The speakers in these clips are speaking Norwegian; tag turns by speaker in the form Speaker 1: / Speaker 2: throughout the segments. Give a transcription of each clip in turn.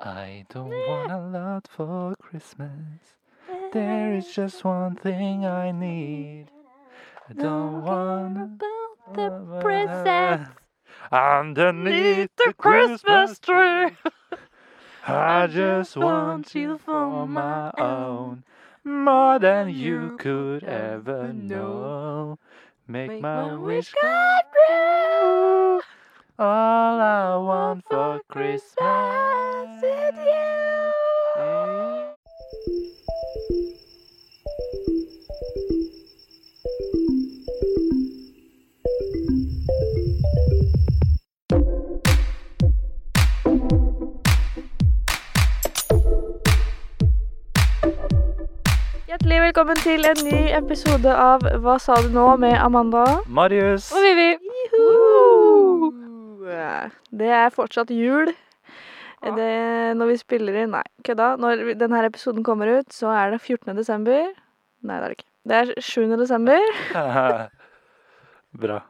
Speaker 1: I don't want a lot for Christmas. There is just one thing I need. I don't want
Speaker 2: about the presents
Speaker 1: underneath
Speaker 2: neath
Speaker 1: the Christmas tree. I
Speaker 2: I
Speaker 1: just
Speaker 2: just
Speaker 1: want
Speaker 2: want
Speaker 1: you
Speaker 2: you
Speaker 1: for
Speaker 2: for
Speaker 1: my
Speaker 2: my
Speaker 1: own, more than
Speaker 2: than
Speaker 1: you
Speaker 2: you
Speaker 1: could
Speaker 2: could
Speaker 1: ever
Speaker 2: ever
Speaker 1: know. Make
Speaker 2: Make
Speaker 1: my
Speaker 2: my
Speaker 1: wish
Speaker 2: wish
Speaker 1: come true. All I want for Christmas is you.
Speaker 2: Hjertelig velkommen til en ny episode av Hva sa du nå? med Amanda
Speaker 1: Marius.
Speaker 2: og Vivi. Det er fortsatt jul. Det, når vi spiller inn Nei, kødda. Når vi- denne episoden kommer ut, så er det 14. desember. Nei, det er det ikke. Det er 7. desember.
Speaker 1: Bra.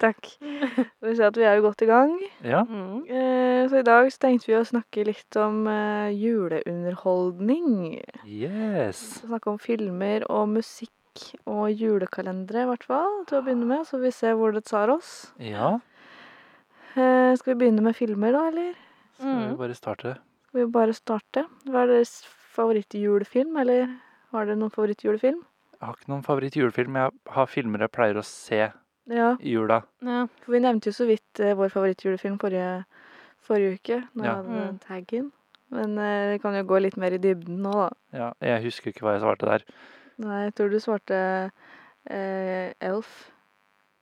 Speaker 2: Takk. Det vil si at vi er jo godt i gang.
Speaker 1: Ja.
Speaker 2: Eh, Så i dag så tenkte vi å snakke litt om eh, juleunderholdning.
Speaker 1: Yes.
Speaker 2: Så snakke om filmer og musikk og julekalendere, i hvert fall, til å begynne med. Så får vi se hvor det tar oss.
Speaker 1: Ja,
Speaker 2: Eh, Skal vi begynne med filmer, da, eller?
Speaker 1: skal vi
Speaker 3: Mm.
Speaker 1: bare starte?
Speaker 2: Skal vi bare starte? Hva er deres favorittjulefilm, eller har dere noen favorittjulefilm?
Speaker 1: Jeg har ikke noen favoritt julefilm. Jeg har filmer jeg pleier å se
Speaker 2: Ja,
Speaker 1: i jula.
Speaker 3: Ja.
Speaker 2: for vi nevnte jo så vidt eh, vår favorittjulefilm forrige, forrige uke, når
Speaker 1: Ja.
Speaker 2: vi hadde den
Speaker 3: Mm.
Speaker 2: taggen. Men eh, vi kan jo gå litt mer i dybden nå, da.
Speaker 1: Ja, jeg husker ikke hva jeg svarte der.
Speaker 2: Nei, jeg tror du svarte eh, Elf.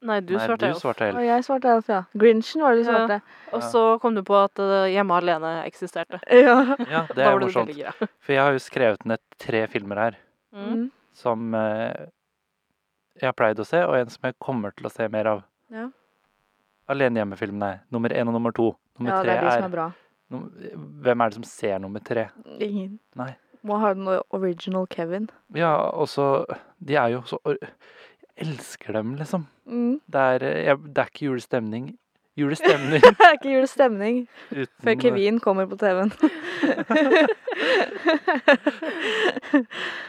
Speaker 3: Nei, du
Speaker 1: Nei,
Speaker 3: svarte
Speaker 1: du
Speaker 3: elf.
Speaker 1: svarte
Speaker 2: Og
Speaker 1: helt.
Speaker 2: jeg svarte Elf, ja. Grinchen var det du
Speaker 3: Ja.
Speaker 2: svarte.
Speaker 3: Og
Speaker 1: Ja.
Speaker 3: så kom du på at eh, Hjemme alene eksisterte.
Speaker 2: Ja.
Speaker 1: Ja, det
Speaker 3: Da
Speaker 1: er
Speaker 3: var du veldig
Speaker 1: morsomt.
Speaker 3: gira.
Speaker 1: For jeg har jo skrevet ned tre filmer her
Speaker 3: Mm.
Speaker 2: Mm.
Speaker 1: som eh, jeg har pleid å se, og en som jeg kommer til å se mer av.
Speaker 2: Ja.
Speaker 1: Alene hjemme-filmene. Nummer én og nummer to. Nummer
Speaker 2: ja, det
Speaker 1: tre
Speaker 2: er de som er bra.
Speaker 1: num- Hvem er det som ser nummer tre?
Speaker 2: Ingen.
Speaker 1: Nei.
Speaker 2: Må ha den original Kevin.
Speaker 1: Ja, og så De er jo så or- Jeg elsker dem, liksom.
Speaker 2: Mm.
Speaker 1: Det er, eh, jeg, det er ikke julestemning. Julestemning
Speaker 2: Det er ikke julestemning
Speaker 1: uten
Speaker 2: før Kevin kommer på TV-en.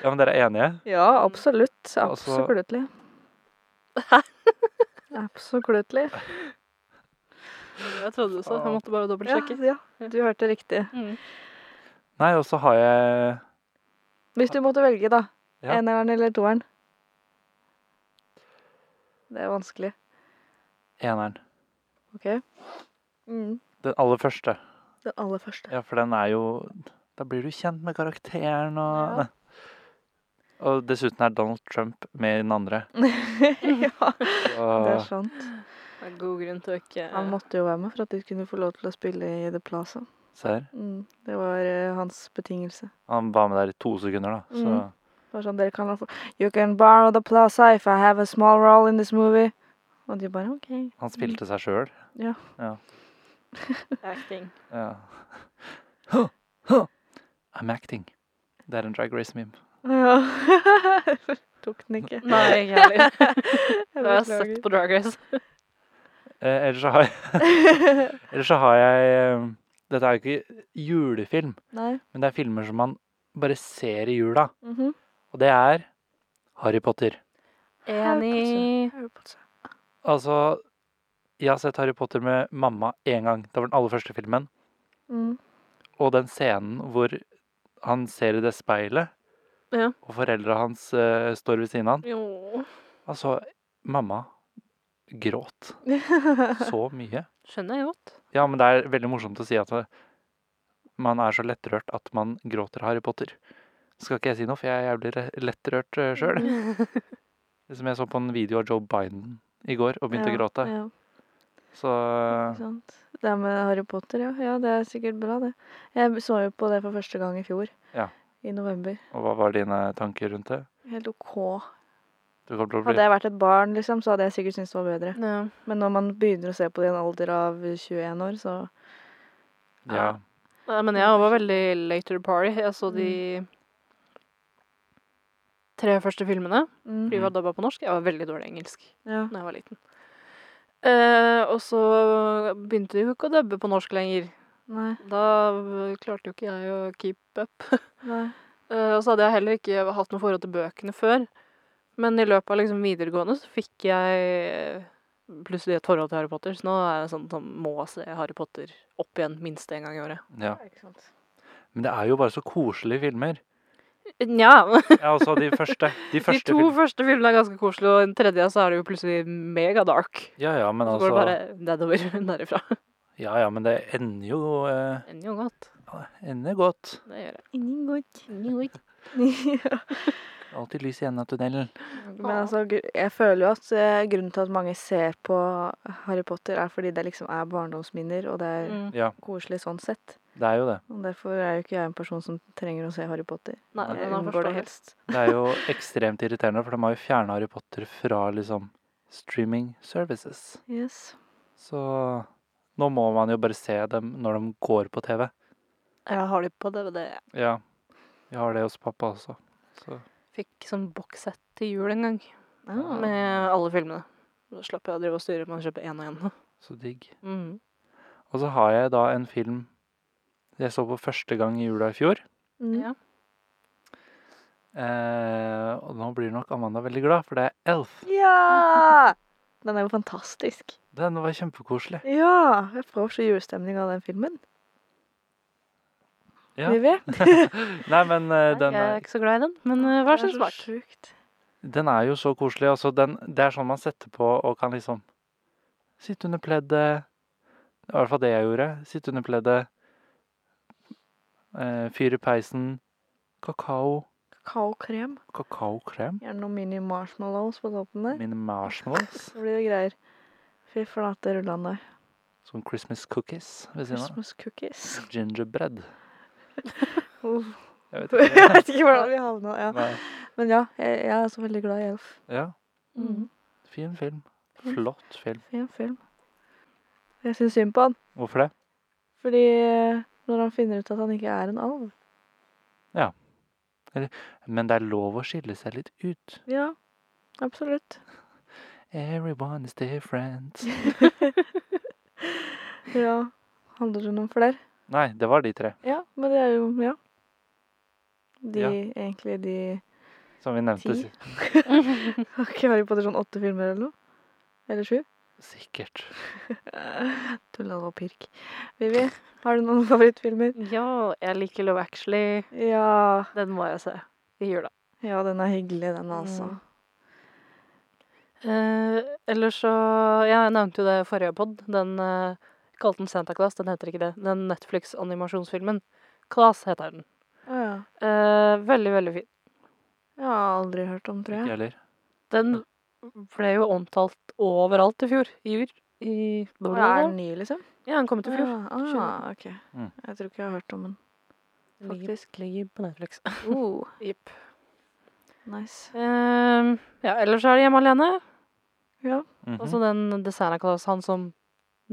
Speaker 1: Ja, men dere er enige?
Speaker 2: ja, absolutt.
Speaker 1: Altså-
Speaker 2: Absoluttlig. Absoluttlig.
Speaker 3: Jeg trodde det så. Jeg måtte bare
Speaker 2: Ja,
Speaker 3: dobbeltsjekke.
Speaker 2: ja, du hørte riktig.
Speaker 3: Mm.
Speaker 1: Nei, og så har jeg
Speaker 2: Hvis du måtte velge, da.
Speaker 1: Ja.
Speaker 2: Eneren eller toeren? Det er vanskelig.
Speaker 1: eneren.
Speaker 2: OK? Mm.
Speaker 1: Den aller første.
Speaker 2: Den aller første.
Speaker 1: Ja, for den er jo Da blir du kjent med karakteren og
Speaker 2: Ja.
Speaker 1: Og dessuten er Donald Trump med i den andre.
Speaker 2: ja, det
Speaker 1: Og,
Speaker 2: er sant.
Speaker 3: Det er god grunn til å ikke
Speaker 2: Han måtte jo være med for at de kunne få lov til å spille i The Plaza.
Speaker 1: se her.
Speaker 2: Mm, det var eh, hans betingelse.
Speaker 1: Han var med der i to sekunder, da. Så
Speaker 2: Mm. Det var sånn, dere kan få You can borrow The Plaza if I have a small role in this movie. Og de bare OK.
Speaker 1: han spilte seg sjøl.
Speaker 3: acting.
Speaker 1: Ja. Huh, huh. I'm acting. Det er en Drag Race-meme.
Speaker 2: Ja. Tok den ikke.
Speaker 3: Nei, ikke heller.
Speaker 2: Jeg
Speaker 3: Det har jeg sett på Drag Race.
Speaker 1: Eh, ellers så har jeg,
Speaker 2: beklager.
Speaker 1: ellers så har jeg eh, Dette er jo ikke julefilm,
Speaker 2: Nei.
Speaker 1: men det er filmer som man bare ser i jula.
Speaker 2: mhm.
Speaker 1: Og det er Harry Potter.
Speaker 3: Enig.
Speaker 2: Harry Potter.
Speaker 1: Altså, jeg har sett Harry Potter med mamma én gang. Det var den aller første filmen.
Speaker 2: Mm.
Speaker 1: Og den scenen hvor han ser i det speilet,
Speaker 3: Ja.
Speaker 1: og foreldra hans eh, står ved siden av han.
Speaker 3: Jo.
Speaker 1: Altså, mamma gråt så mye.
Speaker 3: Skjønner jeg godt.
Speaker 1: Ja, men det er veldig morsomt å si at eh, man er så lettrørt at man gråter Harry Potter. Skal ikke jeg si noe, for jeg er jævlig re- lettrørt eh, sjøl. Som jeg så på en video av Joe Biden i går og begynte å gråte.
Speaker 2: Ja,
Speaker 1: Så
Speaker 2: ja, ikke sant. Det er med Harry Potter, ja. ja. Det er sikkert bra, det. Jeg så jo på det for første gang i fjor.
Speaker 1: Ja.
Speaker 2: I november.
Speaker 1: Og hva var dine tanker rundt det?
Speaker 2: Helt OK.
Speaker 1: Du kommer til å bli
Speaker 2: Hadde jeg vært et barn, liksom, så hadde jeg sikkert syntes det var bedre.
Speaker 3: Ja.
Speaker 2: Men når man begynner å se på det i en alder av 21 år, så
Speaker 1: Ja.
Speaker 3: Nei, Men jeg var veldig late to the party. Jeg så de tre første filmene.
Speaker 2: mm,
Speaker 3: De var dabba på norsk. Jeg var veldig dårlig i engelsk.
Speaker 2: ja.
Speaker 3: da jeg var liten. Eh, og så begynte de jo ikke å dubbe på norsk lenger.
Speaker 2: Nei.
Speaker 3: Da øh, klarte jo ikke jeg å keep up.
Speaker 2: Nei.
Speaker 3: Eh, Og så hadde jeg heller ikke hatt noe forhold til bøkene før. Men i løpet av liksom videregående så fikk jeg eh, plutselig et forhold til Harry Potter. Så nå er det sånn som må se Harry Potter opp igjen minst én gang i året.
Speaker 1: Ja.
Speaker 2: Ikke sant.
Speaker 1: Men det er jo bare så koselige filmer.
Speaker 3: Nja.
Speaker 1: Ja, altså de første. De,
Speaker 3: De
Speaker 1: første
Speaker 3: to
Speaker 1: film-
Speaker 3: første filmene er ganske koselige, og den tredje så er det jo plutselig mega dark.
Speaker 1: Ja ja, men
Speaker 3: Så går det bare
Speaker 1: altså
Speaker 3: nedover derifra.
Speaker 1: Ja ja, men det ender jo eh,
Speaker 3: Ender jo godt.
Speaker 1: Ender godt.
Speaker 3: Det gjør jeg.
Speaker 2: Ingen godt. Ja.
Speaker 1: Alltid lys i enden av tunnelen.
Speaker 2: Men altså, gr- jeg føler jo at eh, grunnen til at mange ser på Harry Potter, er fordi det liksom er barndomsminner, og det er
Speaker 3: Mm.
Speaker 1: Ja,
Speaker 2: koselig sånn sett.
Speaker 1: det er jo det.
Speaker 2: Og derfor er jo ikke jeg en person som trenger å se Harry Potter.
Speaker 3: Nei,
Speaker 2: Jeg
Speaker 3: men han
Speaker 2: unngår
Speaker 3: forstår
Speaker 2: det
Speaker 3: det.
Speaker 2: helst.
Speaker 1: Det er jo ekstremt irriterende, for de har jo fjerna Harry Potter fra liksom streaming services.
Speaker 2: Yes.
Speaker 1: Så nå må man jo bare se dem når de går på TV.
Speaker 3: Jeg har de på DVD.
Speaker 1: Ja. Vi har det hos pappa også. Så
Speaker 3: Fikk sånn bokssett til jul en gang
Speaker 2: Ah.
Speaker 3: med alle filmene. Da slapp jeg å drive og styre med å kjøpe én og én.
Speaker 1: Så digg.
Speaker 3: Mm.
Speaker 1: Og så har jeg da en film jeg så på første gang i jula i fjor.
Speaker 2: Mm.
Speaker 3: Ja.
Speaker 1: Eh, og nå blir nok Amanda veldig glad, for det er Elf.
Speaker 2: Ja! Den er jo fantastisk.
Speaker 1: Den var kjempekoselig.
Speaker 2: Ja! Jeg får så julestemning av den filmen.
Speaker 1: Ja.
Speaker 2: Vivi?
Speaker 1: Nei, men eh, den,
Speaker 3: jeg er
Speaker 1: er,
Speaker 3: ikke så glad i den, men eh, hva
Speaker 2: Det er
Speaker 3: slags
Speaker 2: så
Speaker 3: smart?
Speaker 2: sjukt.
Speaker 1: den er jo så koselig. Altså, den, det er sånn man setter på og kan liksom sitte under pleddet. Det var i hvert fall det jeg gjorde. Sitte under pleddet, eh, fyre peisen, kakao,
Speaker 2: Kakaokrem.
Speaker 1: kakaokrem,
Speaker 2: Gjerne noen mini marshmallows på toppen der.
Speaker 1: mine marshmallows,
Speaker 2: Så blir det greier. Fy flate rullande.
Speaker 1: sånn Christmas cookies ved siden av.
Speaker 2: Christmas cookies.
Speaker 1: Gingerbread.
Speaker 2: Uff.
Speaker 1: Jeg vet
Speaker 2: Jeg
Speaker 1: ikke.
Speaker 2: vet ikke hvordan vi havna ja.
Speaker 1: Nei.
Speaker 2: Men ja, jeg, jeg er så veldig glad i Elf.
Speaker 1: Ja,
Speaker 2: Mm.
Speaker 1: fin film.
Speaker 2: Fin.
Speaker 1: Flott film.
Speaker 2: Fin film. Jeg syns synd på han.
Speaker 1: Hvorfor det?
Speaker 2: Fordi eh, når han finner ut at han ikke er en alv
Speaker 1: Men det er lov å skille seg litt ut.
Speaker 2: Ja, absolutt.
Speaker 1: Everyone is different.
Speaker 2: Ja. Handler det om flere?
Speaker 1: Nei, det var de tre
Speaker 2: Ja, men det er jo Ja. De,
Speaker 1: Ja.
Speaker 2: Egentlig de
Speaker 1: som vi nevnte.
Speaker 2: Ti?
Speaker 1: si-
Speaker 2: Har ikke Harry Potter sånn åtte filmer eller noe? Eller sju?
Speaker 1: Sikkert.
Speaker 2: Tulla og pirk. Vivi, har du noen favorittfilmer?
Speaker 3: Ja, jeg liker Love Actually.
Speaker 2: Ja.
Speaker 3: Den må jeg se i jula.
Speaker 2: Ja, den er hyggelig, den altså.
Speaker 3: Mm. Eh, Eller så ja, Jeg nevnte jo det i forrige pod. Den eh, jeg kalte den Santa Claus. Den heter ikke det. Den Netflix-animasjonsfilmen. Claus heter den.
Speaker 2: Å ja.
Speaker 3: Eh, veldig, veldig fin.
Speaker 2: Jeg har aldri hørt om, tror
Speaker 1: Ikke
Speaker 2: jeg.
Speaker 1: heller.
Speaker 3: Den ble jo omtalt overalt i fjor. I jul. I
Speaker 2: Hva er den ny, liksom?
Speaker 3: Ja, den kom ut i fjor.
Speaker 2: Ah, ah, ok.
Speaker 1: Mm.
Speaker 2: Jeg tror ikke jeg har hørt om den.
Speaker 3: Faktisk. Ligger på Netflix.
Speaker 2: Oh,
Speaker 3: Jipp.
Speaker 2: nice.
Speaker 3: Eh, ja, ellers er det Hjemme alene.
Speaker 2: Ja.
Speaker 1: Mhm.
Speaker 3: Altså den The Santa Claus, han som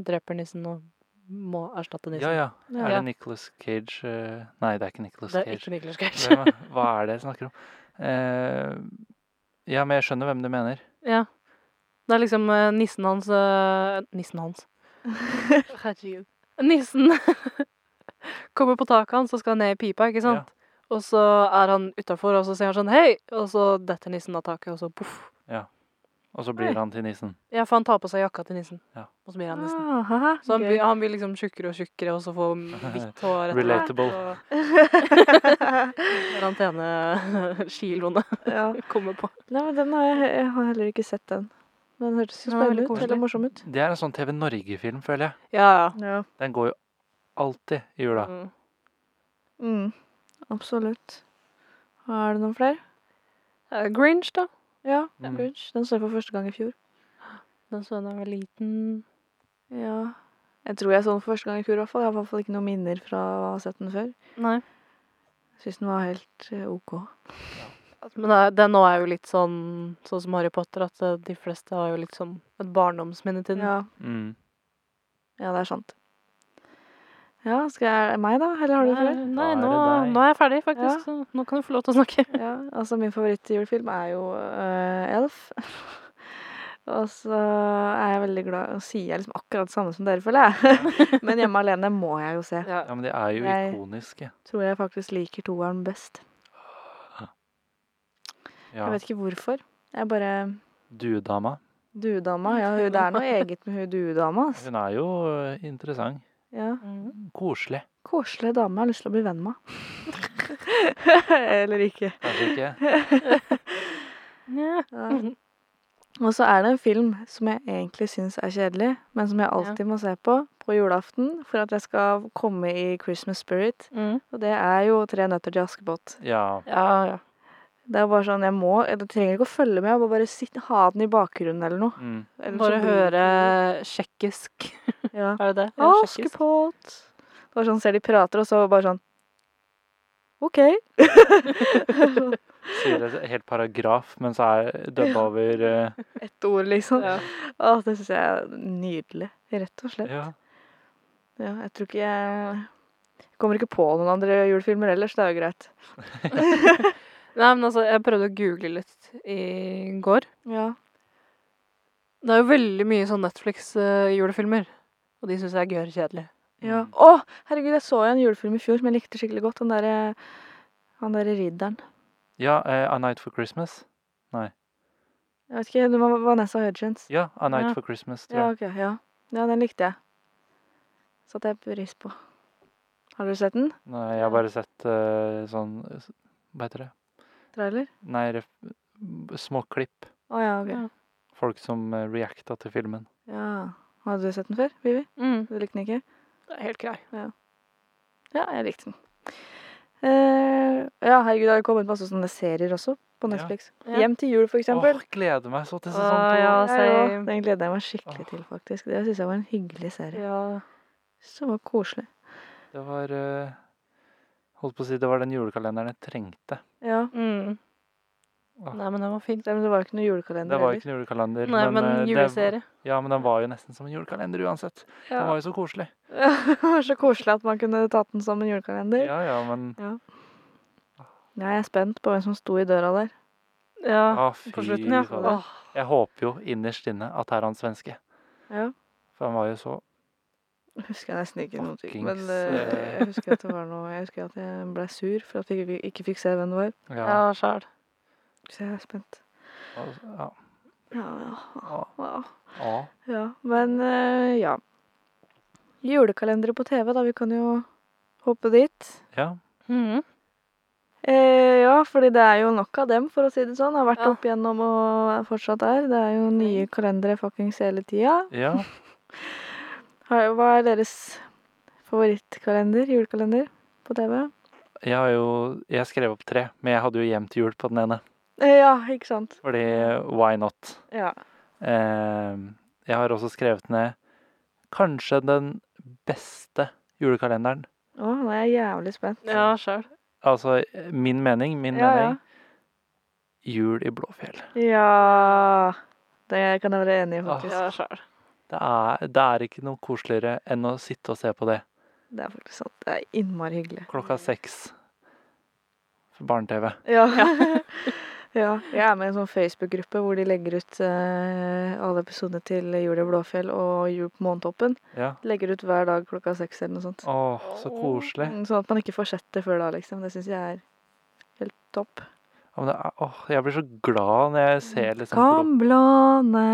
Speaker 3: dreper nissen og må erstatte nissen.
Speaker 1: ja, ja. Er
Speaker 2: Ja.
Speaker 3: liksom. Ja.
Speaker 1: det Nicolas Cage eh, Nei, det er ikke Nicolas
Speaker 3: Det er
Speaker 1: Cage.
Speaker 3: ikke Nicolas Cage.
Speaker 1: Hvem, er- hva er det jeg snakker om? Eh, ja, men jeg skjønner hvem du mener.
Speaker 3: Ja. Det er liksom eh, nissen hans eh, Nissen hans. Herregud. Nissen kommer på taket hans og skal ned i pipa, ikke sant? Og så er han utafor, og så sier han sånn hei, og så detter nissen av taket, og så poff.
Speaker 1: Og så blir
Speaker 3: Nei.
Speaker 1: han til nissen.
Speaker 3: Ja, for han tar på seg jakka til nissen,
Speaker 1: Ja.
Speaker 3: og så blir han nissen.
Speaker 2: Ah, haha,
Speaker 3: Så han,
Speaker 2: gøy.
Speaker 3: blir- han blir liksom tjukkere og tjukkere, og så får hvitt hår etter hvert,
Speaker 1: Relatable.
Speaker 3: og Karantenekiloene
Speaker 2: ja.
Speaker 3: kommer på.
Speaker 2: Nei, men den har jeg, jeg har heller ikke sett den. Men den hørtes jo
Speaker 3: Den var
Speaker 2: spennende
Speaker 3: veldig
Speaker 2: ut.
Speaker 3: koselig.
Speaker 2: Eller morsom ut.
Speaker 1: Det er en sånn TV Norge-film, føler jeg.
Speaker 3: Ja, ja.
Speaker 2: Ja.
Speaker 1: Den går jo alltid i jula.
Speaker 3: Mm.
Speaker 2: Mm. Absolutt. Har du noen flere?
Speaker 3: Eh, Grinch, da.
Speaker 2: Ja.
Speaker 1: Mm.
Speaker 2: Grinch. Den så jeg for første gang i fjor.
Speaker 3: Den så jeg da jeg var liten.
Speaker 2: Ja. Jeg tror jeg så den for første gang i fjor, i hvert fall. Jeg har i hvert fall ikke noen minner fra å ha sett den før.
Speaker 3: Nei.
Speaker 2: Jeg syns den var helt eh, OK.
Speaker 3: Men det, det nå er jo litt sånn sånn som Harry Potter, at eh, de fleste har jo litt sånn et barndomsminne til den.
Speaker 2: Ja.
Speaker 1: Mm.
Speaker 2: Ja, det er sant. Ja, skal jeg, er det meg da, eller har du flere?
Speaker 3: Nei,
Speaker 1: Da
Speaker 3: nei,
Speaker 1: er
Speaker 3: nå,
Speaker 1: det deg.
Speaker 3: nå er jeg ferdig, faktisk.
Speaker 2: Ja.
Speaker 3: Så nå kan du få lov til å snakke.
Speaker 2: Ja, altså min favorittjulefilm er jo øh, Elf. eh, Og så er jeg veldig glad og sier jeg liksom akkurat det samme som dere, føler jeg. Men Hjemme alene må jeg jo se.
Speaker 3: Ja.
Speaker 1: Ja, men de er jo
Speaker 2: Jeg-
Speaker 1: ikoniske.
Speaker 2: Tror jeg faktisk liker toeren best.
Speaker 1: Ja.
Speaker 2: Jeg vet ikke hvorfor. Jeg bare
Speaker 1: Duedama.
Speaker 2: Duedama. Ja, hun- det er noe eget med hun duedama. ass.
Speaker 1: Hun er jo eh, interessant.
Speaker 2: Ja.
Speaker 3: Mm.
Speaker 1: Koselig.
Speaker 2: Koselig dame jeg har lyst til å bli venn med. Eller ikke.
Speaker 1: Kanskje ikke?
Speaker 3: Ja.
Speaker 2: Ja. Og så er det en film som jeg egentlig syns er kjedelig, men som jeg alltid må se på på julaften for at jeg skal komme i Christmas spirit.
Speaker 3: Mm.
Speaker 2: Og det er jo 'Tre nøtter til Askepott'.
Speaker 1: Ja.
Speaker 3: ja, ja.
Speaker 2: Det er bare sånn, jeg må, jeg trenger ikke å følge med, jeg må bare sitte, ha den i bakgrunnen eller noe.
Speaker 1: Mm.
Speaker 2: Ellers
Speaker 3: Bare
Speaker 2: så blir det
Speaker 3: høre tsjekkisk.
Speaker 2: ikke- Ja.
Speaker 3: Er det det? Ja, tsjekkisk.
Speaker 2: Askepott! Det var sånn, ser de prater, og så bare sånn OK.
Speaker 1: Sier det helt paragraf, men så er dubba over eh,
Speaker 2: Ett ord, liksom.
Speaker 3: Ja.
Speaker 2: Å, det syns jeg er nydelig. Rett og slett.
Speaker 1: Ja.
Speaker 2: Ja, jeg tror ikke jeg jeg kommer ikke på noen andre julefilmer ellers, det er jo greit.
Speaker 3: Nei, men altså, jeg prøvde å google litt i går.
Speaker 2: Ja.
Speaker 3: Det er jo veldig mye sånn Netflix-julefilmer. Og de syns jeg er gørr kjedelig.
Speaker 2: ja.
Speaker 1: Mm.
Speaker 2: Å, herregud, jeg så jo en julefilm i fjor som jeg likte skikkelig godt. Den derre han derre ridderen.
Speaker 1: ja eh, A Night for Christmas.
Speaker 2: Jeg vet ikke, det var Vanessa Hudgens.
Speaker 1: Ja, A Night
Speaker 3: Ja.
Speaker 1: for Christmas, tror jeg.
Speaker 2: Ja, ok, ja. ja, den likte jeg. Satte jeg pris på. Har du sett den?
Speaker 1: Nei, jeg har bare sett eh, sånn s- Hva heter det?
Speaker 2: Trailer?
Speaker 1: Nei, ref- små klipp.
Speaker 2: Å ja, ok.
Speaker 3: Ja.
Speaker 1: Folk som eh, reacta til filmen.
Speaker 2: Ja. Hadde du sett den før, Vivi?
Speaker 3: Mm.
Speaker 2: Du likte den ikke?
Speaker 3: Det er helt grei.
Speaker 2: Ja, jeg likte den. Eh, ja, herregud, det har jo kommet masse sånne serier også på
Speaker 1: Ja.
Speaker 2: Netflix.
Speaker 3: Ja.
Speaker 2: Hjem til jul, for
Speaker 1: Åh,
Speaker 2: eksempel.
Speaker 1: gleder meg så til sesong
Speaker 3: Åh,
Speaker 1: to.
Speaker 3: ja.
Speaker 2: Jeg
Speaker 3: same.
Speaker 2: også. Den gleder jeg meg skikkelig
Speaker 1: Åh.
Speaker 2: til, faktisk. Det syns jeg var en hyggelig serie.
Speaker 3: Ja.
Speaker 2: Så var det koselig.
Speaker 1: Det var eh, Holdt på å si det var den julekalenderen jeg trengte.
Speaker 2: Ja.
Speaker 3: Mm.
Speaker 1: Åh.
Speaker 3: Nei, men den var fin.
Speaker 2: Det, men det var jo ikke noe
Speaker 1: Det
Speaker 2: julekalender
Speaker 1: var jo ikke en julekalender.
Speaker 3: Nei, men
Speaker 1: eh, det-
Speaker 3: juleserie.
Speaker 1: Ja, men den var jo nesten som en julekalender uansett. Den var jo så koselig.
Speaker 2: Ja, det var så koselig at man kunne tatt den som en julekalender.
Speaker 1: Ja, ja, men
Speaker 2: Ja, jeg er spent på hvem som sto i døra der.
Speaker 3: Ja.
Speaker 1: Å, Ah, fy
Speaker 3: På slutten, ja.
Speaker 1: fader.
Speaker 3: Åh.
Speaker 1: Jeg håper jo innerst inne at det er han svenske.
Speaker 2: Ja.
Speaker 1: For han var jo så
Speaker 2: Husker jeg nesten ikke noen ting. Men
Speaker 1: Fuckings,
Speaker 2: eh,
Speaker 1: eh.
Speaker 2: jeg husker at det var noe Jeg husker at jeg ble sur for at jeg ikke, ikke fikk se hvem det var.
Speaker 1: Ja.
Speaker 3: Ja, sjæl.
Speaker 2: Så jeg er spent.
Speaker 1: altså, ja.
Speaker 2: Ja, ja,
Speaker 1: ja.
Speaker 2: ja.
Speaker 1: ja.
Speaker 2: ja. Men eh, ja. Julekalendere på TV, da. Vi kan jo hoppe dit.
Speaker 1: ja.
Speaker 3: Mm.
Speaker 2: Eh, ja, fordi det er jo nok av dem, for å si det sånn. Har vært
Speaker 3: Ja.
Speaker 2: opp igjennom og fortsatt er. Det er jo nye kalendere fuckings hele tida.
Speaker 1: ja.
Speaker 2: Har- Hva er deres favorittkalender? Julekalender på TV?
Speaker 1: Jeg har jo Jeg skrev opp tre, men jeg hadde jo hjem til jul på den ene.
Speaker 2: Eh, ja, ikke sant.
Speaker 1: Fordi why not?
Speaker 2: Ja.
Speaker 1: Eh, jeg har også skrevet ned kanskje den beste julekalenderen.
Speaker 2: Å, nå er jeg jævlig spent.
Speaker 3: Ja, sjæl.
Speaker 1: Altså min mening, min
Speaker 2: Ja, ja.
Speaker 1: mening. Jul i Blåfjell.
Speaker 2: Ja Det kan jeg være enig i, faktisk.
Speaker 3: Ah. Ja, sjæl.
Speaker 1: Det er, det er ikke noe koseligere enn å sitte og se på det
Speaker 2: Det er faktisk sant. Det er innmari hyggelig.
Speaker 1: klokka seks. For Barne-TV.
Speaker 2: Ja. ja. Jeg er med i en sånn Facebook-gruppe hvor de legger ut eh, alle episodene til Jul i Blåfjell og Jul på Månetoppen.
Speaker 1: Ja.
Speaker 2: Legger ut hver dag klokka seks eller noe sånt.
Speaker 1: Åh, så koselig.
Speaker 2: Mm, Sånn at man ikke får sett det før da, liksom. Det syns jeg er helt topp.
Speaker 1: Ja, men det er, åh, jeg blir så glad når jeg ser liksom
Speaker 2: Mm. Kom, blåne.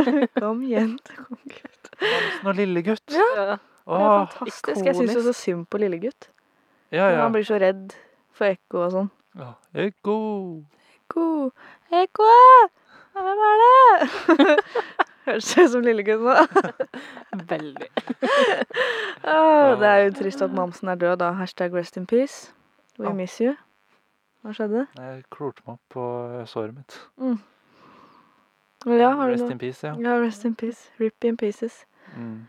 Speaker 2: Kom, jente. Kom, gutt.
Speaker 1: Blomsten og Lillegutt.
Speaker 2: Ja,
Speaker 3: Ja.
Speaker 2: Det er
Speaker 1: Åh,
Speaker 2: fantastisk. Jeg syns jo så synd på lille gutt.
Speaker 1: ja, ja.
Speaker 2: Han blir så redd for ekko og sånn.
Speaker 1: Åh, Ekko.
Speaker 2: Ekko! Ekkoet! Ja, Hvem er det? Høres ut som lillegutt nå.
Speaker 3: Veldig.
Speaker 2: Åh, det er jo trist at mamsen er død, da. Hashtag rest in peace. We
Speaker 1: Au.
Speaker 2: miss you. Hva skjedde?
Speaker 1: Jeg klorte meg opp på såret mitt.
Speaker 2: Vel, ja, har du
Speaker 1: Rest
Speaker 2: noe?
Speaker 1: in peace, ja.
Speaker 2: Ja, rest in peace. Rip in pieces.
Speaker 1: Mm.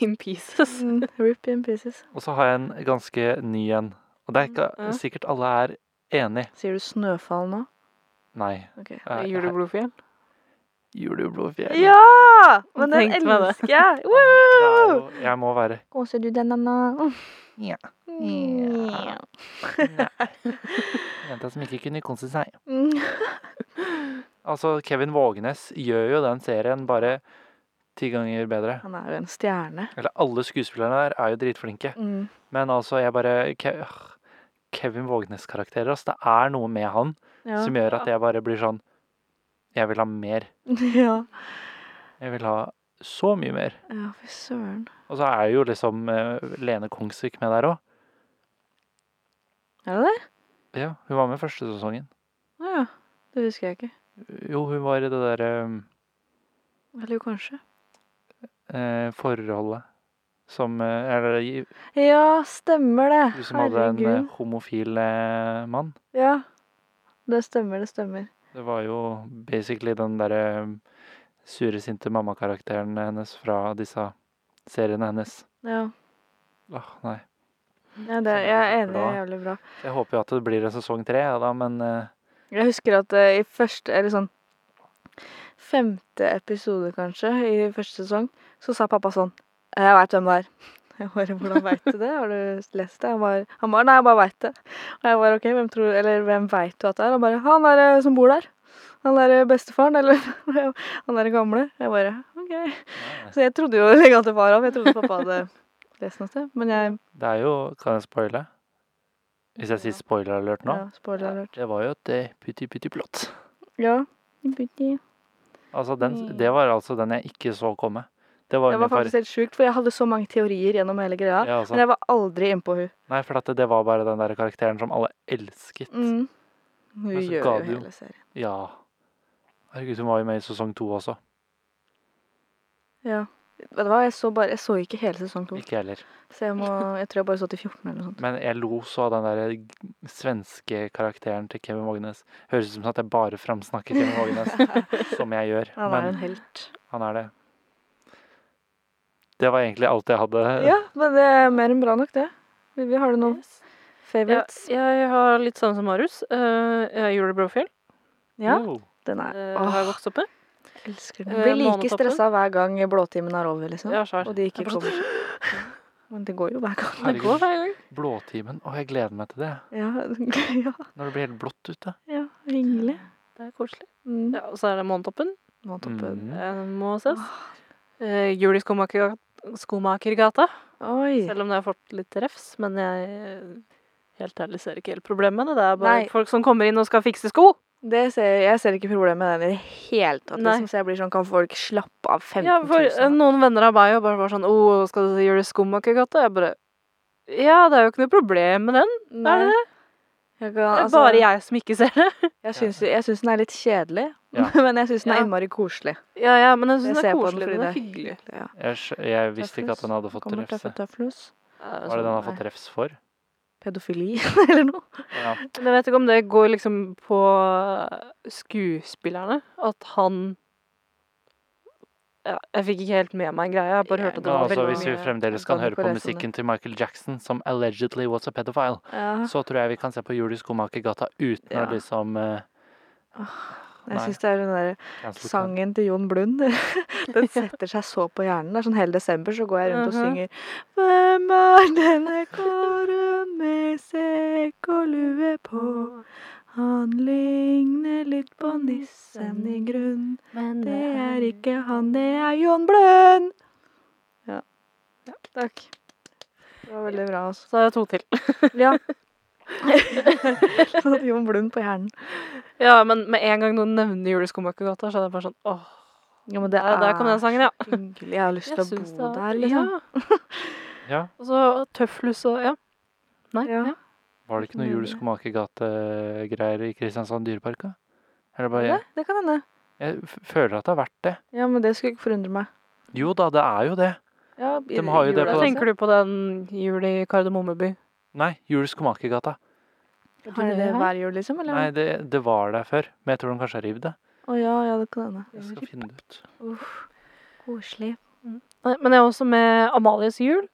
Speaker 3: In pieces.
Speaker 2: Mm, rip in pieces.
Speaker 1: Og så har jeg en ganske ny en. Og det er
Speaker 2: Mm,
Speaker 3: Ja.
Speaker 1: ikke sikkert alle er enig.
Speaker 2: Sier du snøfall nå?
Speaker 1: Nei.
Speaker 2: Ok.
Speaker 1: eh,
Speaker 3: Juleblodfjell.
Speaker 1: Jul i Blåfjell.
Speaker 2: Ja! Men den
Speaker 3: Tenkte meg det.
Speaker 2: elsker jeg!
Speaker 1: Det er
Speaker 2: Woo!
Speaker 1: jo- Jeg må være
Speaker 2: Koser du deg, Nanna?
Speaker 1: Ja.
Speaker 2: Ja.
Speaker 1: jenta som ikke kunne kose seg.
Speaker 2: Mm.
Speaker 1: Altså, Kevin Vågenes gjør jo den serien bare ti ganger bedre.
Speaker 2: Han er jo en stjerne.
Speaker 1: Eller alle skuespillerne der er jo dritflinke.
Speaker 2: Mm.
Speaker 1: Men altså, jeg bare Ke øh, Kevin Vågenes-karakterer, altså. Det er noe med han
Speaker 2: Ja.
Speaker 1: som gjør at jeg bare blir sånn Jeg vil ha mer.
Speaker 2: ja.
Speaker 1: Jeg vil ha så mye mer.
Speaker 2: Ja, fy søren.
Speaker 1: Og så er jo liksom eh, Lene Kongsvik med der òg.
Speaker 2: Er det det?
Speaker 1: Ja, hun var med første sesongen.
Speaker 2: Å ja. Det husker jeg ikke.
Speaker 1: Jo, hun var i det eh, derre
Speaker 2: Eller jo, kanskje.
Speaker 1: eh, forholdet som eh, Eller i-
Speaker 2: Ja, stemmer det.
Speaker 1: hun som hadde en eh, homofil eh, mann.
Speaker 2: Ja. Det stemmer, det stemmer.
Speaker 1: Det var jo basically den derre eh, sure, sinte mammakarakteren hennes fra disse seriene hennes.
Speaker 2: Ja.
Speaker 1: Åh, nei.
Speaker 2: ja det, jeg er enig. det er Jævlig bra.
Speaker 1: Jeg håper jo at det blir en sesong tre, ja, da, men eh,
Speaker 2: Jeg husker at eh, i første Eller sånn Femte episode, kanskje, i første sesong, så sa pappa sånn Jeg veit hvem det er. Jeg bare, Hvordan veit du det? Har du lest det? Han bare, han bare Nei, jeg bare veit det. Og jeg bare OK, hvem tror Eller hvem veit du at det er? Han bare Han er eh, som bor der. Han er eh, bestefaren, eller han er den gamle. Jeg bare OK.
Speaker 1: nei.
Speaker 2: Så jeg trodde jo lenge at det var han. Jeg trodde pappa hadde lest noe sted. Men jeg
Speaker 1: det er jo Kan jeg spoile? Hvis jeg sier spoiler-alert nå?
Speaker 2: Ja, spoiler alert.
Speaker 1: Det var jo et eh, putti putti plott.
Speaker 2: Ja.
Speaker 1: Altså den,
Speaker 3: Mm.
Speaker 1: det var altså den jeg ikke så komme. Det var,
Speaker 2: Det var
Speaker 1: min favoritt.
Speaker 2: faktisk helt sjukt, for jeg hadde så mange teorier gjennom hele greia.
Speaker 1: Ja, altså.
Speaker 2: Men jeg var aldri innpå hun.
Speaker 1: Nei, for at det, det var bare den der karakteren som alle elsket.
Speaker 2: Mm. Hun
Speaker 1: Men så
Speaker 2: gjør
Speaker 1: ga
Speaker 2: jo
Speaker 1: det jo.
Speaker 2: hele serien.
Speaker 1: Ja. Herregud, hun var jo med i sesong to også.
Speaker 2: Ja. Vet du hva, jeg så, bare, jeg så ikke hele sesong to.
Speaker 1: Ikke heller.
Speaker 2: Så jeg, må, jeg tror jeg bare så til 14 eller noe sånt.
Speaker 1: Men jeg lo så av den der svenske karakteren til Kevin Vågenes. Høres ut som at jeg bare framsnakker Kevin Vågenes, som jeg gjør.
Speaker 2: Han er jo
Speaker 1: Men
Speaker 2: en helt.
Speaker 1: han er det. Det var egentlig alt jeg hadde.
Speaker 2: Ja, men det er mer enn bra nok, det. Vivi, har du noen
Speaker 3: Yes. Ja,
Speaker 2: favorites?
Speaker 3: jeg har litt samme som Marius. Uh, Julie Brofjell.
Speaker 2: Ja.
Speaker 1: Wow.
Speaker 2: Den
Speaker 3: eh,
Speaker 2: er
Speaker 3: har
Speaker 2: Åh,
Speaker 3: jeg vokst opp med.
Speaker 2: elsker den.
Speaker 3: Eh,
Speaker 2: Blir like
Speaker 3: Månetoppen.
Speaker 2: stressa hver gang blåtimen er over, liksom.
Speaker 3: Ja, skjær.
Speaker 2: Og de ikke
Speaker 3: Jeg forstår.
Speaker 2: kommer seg. Men det går jo hver gang.
Speaker 3: Det går hver gang.
Speaker 1: Blåtimen. Å, jeg gleder meg til det.
Speaker 2: Ja, ja,
Speaker 1: Når det blir helt blått ute.
Speaker 2: ja hyggelig.
Speaker 3: Det er koselig.
Speaker 2: Mm.
Speaker 3: Ja, og så er det Månetoppen.
Speaker 2: Månetoppen.
Speaker 1: Mm.
Speaker 3: Eh, må ses. Uh, Juli Skomaker, Skomakergata.
Speaker 2: Oi.
Speaker 3: Selv om det har fått litt refs, men jeg eh, helt ærlig ser ikke helt problemet med det. Det er bare
Speaker 2: Nei.
Speaker 3: folk som kommer inn og skal fikse sko.
Speaker 2: Det ser, jeg ser ikke problemet med den i det hele tatt.
Speaker 3: Nei.
Speaker 2: Liksom, så jeg blir sånn, kan folk slappe av 15
Speaker 3: Ja, for eh,
Speaker 2: 000?
Speaker 3: noen venner av meg jo bare var sånn 'Å, skal du gjøre Skomakergata?' Jeg bare Ja, det er jo ikke noe problem med den.
Speaker 2: Nei.
Speaker 3: Er det det?
Speaker 2: Jeg,
Speaker 3: Det
Speaker 2: kan,
Speaker 3: er
Speaker 2: altså,
Speaker 3: bare
Speaker 2: jeg.
Speaker 3: jeg som ikke ser det.
Speaker 2: syns, jeg syns den er litt kjedelig,
Speaker 1: Ja.
Speaker 2: men jeg syns den er
Speaker 3: Ja.
Speaker 2: innmari koselig.
Speaker 3: Ja, ja, men jeg syns
Speaker 2: Jeg
Speaker 3: det
Speaker 2: ser
Speaker 3: er
Speaker 2: på den
Speaker 3: koselig.
Speaker 2: fordi
Speaker 3: Den er
Speaker 2: det er
Speaker 3: hyggelig.
Speaker 2: Ja.
Speaker 1: Jeg, skj- jeg visste ikke at den hadde fått
Speaker 2: Kommer Sånn,
Speaker 1: refs.
Speaker 2: tøffe tøflus.
Speaker 1: Var det den har fått refs for?
Speaker 2: Pedofili eller noe.
Speaker 1: Ja.
Speaker 3: Men jeg vet ikke om det går liksom på eh, skuespillerne. At han ja, Jeg fikk ikke helt med meg greia. Jeg bare
Speaker 2: Ja,
Speaker 3: hørte at det
Speaker 1: Men
Speaker 3: var
Speaker 1: altså,
Speaker 3: veldig
Speaker 1: hvis vi
Speaker 3: mye-
Speaker 1: fremdeles
Speaker 2: kan
Speaker 1: kan høre
Speaker 2: på
Speaker 1: på
Speaker 2: resten,
Speaker 1: musikken til Michael Jackson, som allegedly was a pedophile,
Speaker 2: Ja.
Speaker 1: så tror jeg vi kan se på Julie Skomakergata uten
Speaker 2: Ja.
Speaker 1: å liksom eh,
Speaker 2: Jeg
Speaker 1: Nei.
Speaker 2: syns det er den der
Speaker 1: cancel den.
Speaker 2: sangen til Jon Blund. Den setter seg så på hjernen. Det er sånn hele desember så går jeg rundt og
Speaker 3: Mhm.
Speaker 2: synger Hvem er denne karen med sekk og lue på? Han ligner litt på nissen i grunn.
Speaker 3: Men
Speaker 2: Det er ikke han, det er Jon Blund. Ja. Takk. Det var veldig bra, altså.
Speaker 3: Så er det to til.
Speaker 2: Ja. Sånn at Jon Blund på hjernen.
Speaker 3: Ja, men med en gang noen nevner Juleskomakergata, så er det bare sånn åh,
Speaker 2: Ja, men det
Speaker 3: der, der kom den sangen, ja.
Speaker 2: så Ah, Hyggelig. Jeg har lyst til å
Speaker 3: synes
Speaker 2: bo
Speaker 3: det er-
Speaker 2: der, liksom.
Speaker 3: Ja.
Speaker 1: Ja,
Speaker 3: Og så Tøflus og ja. Nei,
Speaker 2: Ja.
Speaker 3: ja.
Speaker 1: Var det ikke noe Julie Skomakergate-greier i Kristiansand dyrepark? da? Er det bare
Speaker 2: Det,
Speaker 1: jeg,
Speaker 2: det kan hende.
Speaker 1: f- føler at det har vært det.
Speaker 2: Ja, men det skulle ikke forundre meg.
Speaker 1: Jo da, det er jo det.
Speaker 2: Ja,
Speaker 1: De har jo det
Speaker 3: Da
Speaker 1: på
Speaker 3: tenker du på den jul i Kardemommeby. Eh,
Speaker 1: Nei, Julie Skomakergata.
Speaker 2: Har de det hver jul, liksom? Eller?
Speaker 1: Nei, det, det var der før, men jeg tror de kanskje har revet det.
Speaker 2: Å ja, ja, det kan hende.
Speaker 1: Jeg skal finne det ut.
Speaker 2: Uff. Koselig.
Speaker 3: Nei, Men jeg er også med Amalies jul.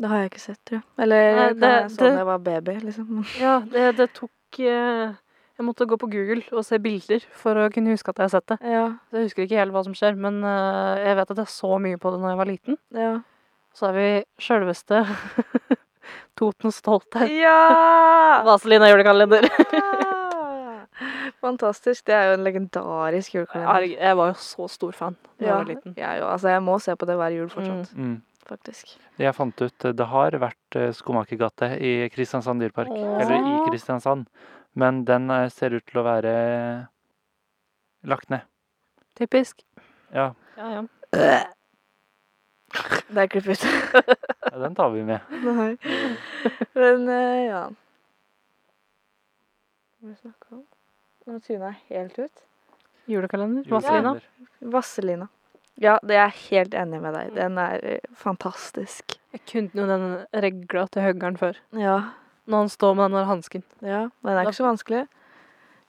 Speaker 2: Det har jeg ikke sett, tror jeg. Eller jeg
Speaker 3: Nei,
Speaker 2: kan-
Speaker 3: det-
Speaker 2: jeg så da
Speaker 3: det-
Speaker 2: jeg var baby, liksom.
Speaker 3: Ja, det, det tok eh, Jeg måtte gå på Google og se bilder for å kunne huske at jeg har sett det.
Speaker 2: Ja,
Speaker 3: Så Jeg husker ikke helt hva som skjer, men eh, jeg vet at jeg så mye på det når jeg var liten.
Speaker 2: ja.
Speaker 3: Så er vi sjølveste Totens stolthet.
Speaker 2: Ja!
Speaker 3: Vazelina julekalender.
Speaker 2: Fantastisk. Det er jo en legendarisk julekalender.
Speaker 3: Herregud, Jeg var jo så stor fan da jeg
Speaker 2: Ja.
Speaker 3: var liten.
Speaker 2: Jeg, er jo, altså, jeg må se på det hver jul fortsatt,
Speaker 1: Mm.
Speaker 2: faktisk.
Speaker 1: Jeg fant ut eh, det har vært eh, Skomakergate i Kristiansand dyrepark.
Speaker 3: Åh.
Speaker 1: Eller i Kristiansand. Men den eh, ser ut til å være lagt ned.
Speaker 3: Typisk.
Speaker 1: Ja,
Speaker 3: Ja, ja.
Speaker 2: Det er klipp ut.
Speaker 1: ja, den tar vi med.
Speaker 2: Nei. Men eh, ja. Hva snakka om? Nå tuna jeg helt ut.
Speaker 3: Julekalender. Vazelina.
Speaker 1: Julekalender.
Speaker 2: Vasselina. Ja, det er jeg helt enig med deg. Den er eh, fantastisk.
Speaker 3: Jeg kunne jo den regla til høggeren før.
Speaker 2: Ja.
Speaker 3: Når han står med den der hansken.
Speaker 2: Ja, men det er ikke så vanskelig.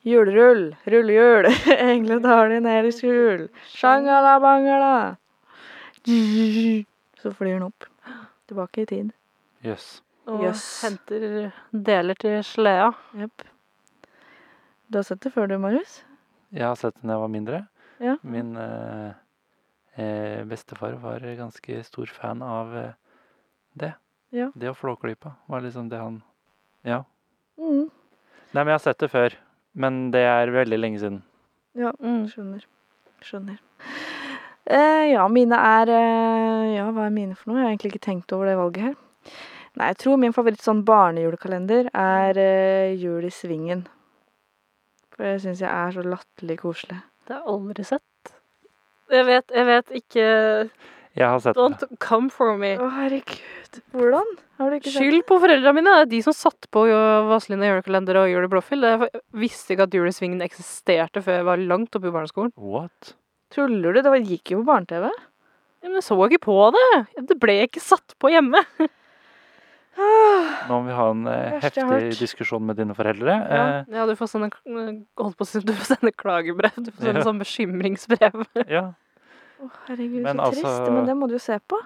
Speaker 2: Julerull, rullehjul, engle tar de ned i skjul. Shangala bangala. Så flyr den opp. Tilbake i tid.
Speaker 1: Jøss.
Speaker 3: Og
Speaker 2: Jøss.
Speaker 3: henter deler til sleda.
Speaker 2: Jepp. Du har sett det før du, Marius?
Speaker 1: Jeg har sett den da jeg var mindre.
Speaker 2: Ja.
Speaker 1: Min eh, eh, bestefar var ganske stor fan av eh, det.
Speaker 2: Ja.
Speaker 1: Det og Flåklypa var liksom det han Ja.
Speaker 2: Mm.
Speaker 1: Nei, men jeg har sett det før. Men det er veldig lenge siden.
Speaker 2: Ja,
Speaker 3: Mm.
Speaker 2: skjønner. Skjønner. Eh, ja, mine er eh, Ja, hva er mine for noe? Jeg har egentlig ikke tenkt over det valget her. Nei, jeg tror min favoritt sånn barnejulekalender er eh, Jul i Svingen. For det syns jeg er så latterlig koselig.
Speaker 3: Det har jeg aldri sett. Jeg vet, jeg vet ikke
Speaker 1: Jeg har sett det.
Speaker 3: Don't come for me.
Speaker 2: Å, herregud. Hvordan? Har du ikke sett
Speaker 3: Skyld på foreldrene mine. Det er de som satte på Vazelina julekalender og Jul i Blåfjell. Jeg visste ikke at Jul i Svingen eksisterte før jeg var langt oppe i barneskolen.
Speaker 1: What?
Speaker 2: Tuller du? Det var- gikk jo på barne-TV.
Speaker 3: Ja, Men jeg så ikke på det. Det ble ikke satt på hjemme.
Speaker 2: Ah.
Speaker 1: Nå må vi ha en eh,
Speaker 2: Verste jeg har
Speaker 1: heftig
Speaker 2: hørt.
Speaker 1: diskusjon med dine foreldre. Eh,
Speaker 3: Ja, ja du får sende eh, holdt på å si, du får sende klagebrev. Du får sende
Speaker 1: Ja.
Speaker 3: sånn bekymringsbrev.
Speaker 1: Eh, ja.
Speaker 2: Å, herregud,
Speaker 1: Men
Speaker 2: så
Speaker 1: altså-
Speaker 2: trist. Men det må du jo se på.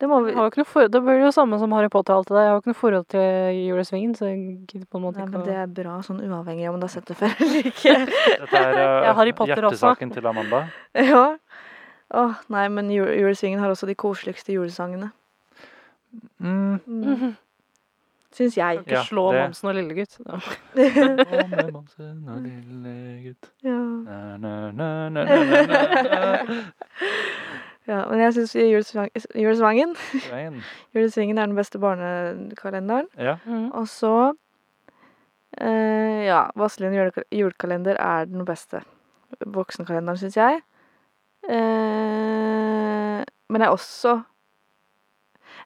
Speaker 2: Det må vi
Speaker 3: Jeg har jo ikke noe for... Det blir jo samme som Harry Potter og alt det der. Jeg har jo ikke noe forhold til julesvingen, så jeg gidder på en måte
Speaker 2: Nei,
Speaker 3: ikke
Speaker 2: men
Speaker 3: å
Speaker 2: det er bra sånn uavhengig av om du har sett det før eller ikke.
Speaker 1: Dette er eh,
Speaker 3: Ja, Harry Potter også.
Speaker 1: hjertesaken til Amanda.
Speaker 2: Ja. Åh, nei, men jul Julesvingen har også de koseligste julesangene.
Speaker 1: Mm.
Speaker 2: Mm.
Speaker 3: Mhm.
Speaker 2: Syns jeg.
Speaker 3: Ikke
Speaker 1: Ja,
Speaker 3: slå
Speaker 1: det-
Speaker 3: Mamsen og lillegutt. Ja.
Speaker 1: Å, med Monsen og lille gutt.
Speaker 2: Ja.
Speaker 1: Na, na, na, na, na, na, na.
Speaker 2: ja men jeg syns julesvang, Julesvangen
Speaker 1: Svein.
Speaker 2: Julesvingen er den beste barnekalenderen.
Speaker 1: Ja.
Speaker 3: Mm.
Speaker 2: Og så eh, Ja, Vazelin juleka- julekalender er den beste voksenkalenderen, syns jeg. Eh, men jeg er også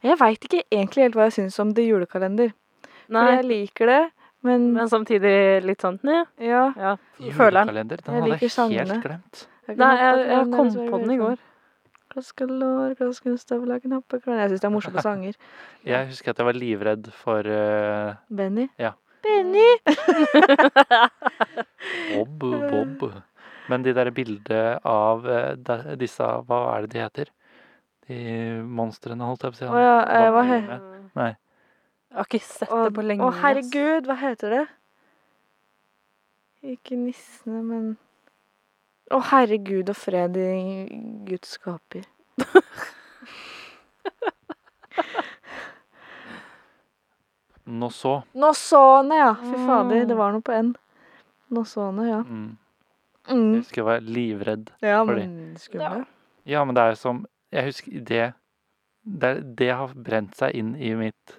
Speaker 2: Jeg veit ikke egentlig helt hva jeg syns om det julekalender. For
Speaker 3: Nei,
Speaker 2: jeg liker det, men,
Speaker 3: men samtidig litt sånn Nei,
Speaker 2: ja.
Speaker 3: ja. føler den.
Speaker 1: Julekalender. Den
Speaker 2: Jeg
Speaker 1: hadde
Speaker 2: liker
Speaker 1: jeg
Speaker 2: sangene.
Speaker 1: helt glemt.
Speaker 3: Nei, jeg, jeg kom på den i går.
Speaker 2: sånn, Klaskelår, klaskenstavla, knappeklan Jeg syns det er morsomme sanger.
Speaker 1: Jeg husker at jeg var livredd for eh,
Speaker 2: Benny.
Speaker 1: Ja.
Speaker 2: Benny!
Speaker 1: Bob, Bob. Men de der bildene av eh, de- disse Hva er det de heter? De monstrene, holdt jeg på å si.
Speaker 2: Å
Speaker 1: han
Speaker 2: ja, eh, hva
Speaker 1: Bob
Speaker 2: he
Speaker 1: er med. Nei.
Speaker 3: Jeg har ikke sett
Speaker 2: Å,
Speaker 3: det på lenge. altså.
Speaker 2: Å,
Speaker 3: ass.
Speaker 2: herregud, hva heter det? Ikke nissene, men Å, herregud og fred i Guds skaper.
Speaker 1: Nå så.
Speaker 2: Nossåne, ja! Fy fader,
Speaker 3: Mm.
Speaker 2: det var noe på N. Nossåne, ja.
Speaker 1: Mm. Jeg
Speaker 2: Mm.
Speaker 1: husker jeg var livredd.
Speaker 2: Ja,
Speaker 1: Fordi-
Speaker 2: men skumle.
Speaker 1: Ja, men det er som Jeg husker det Det, er- det har brent seg inn i mitt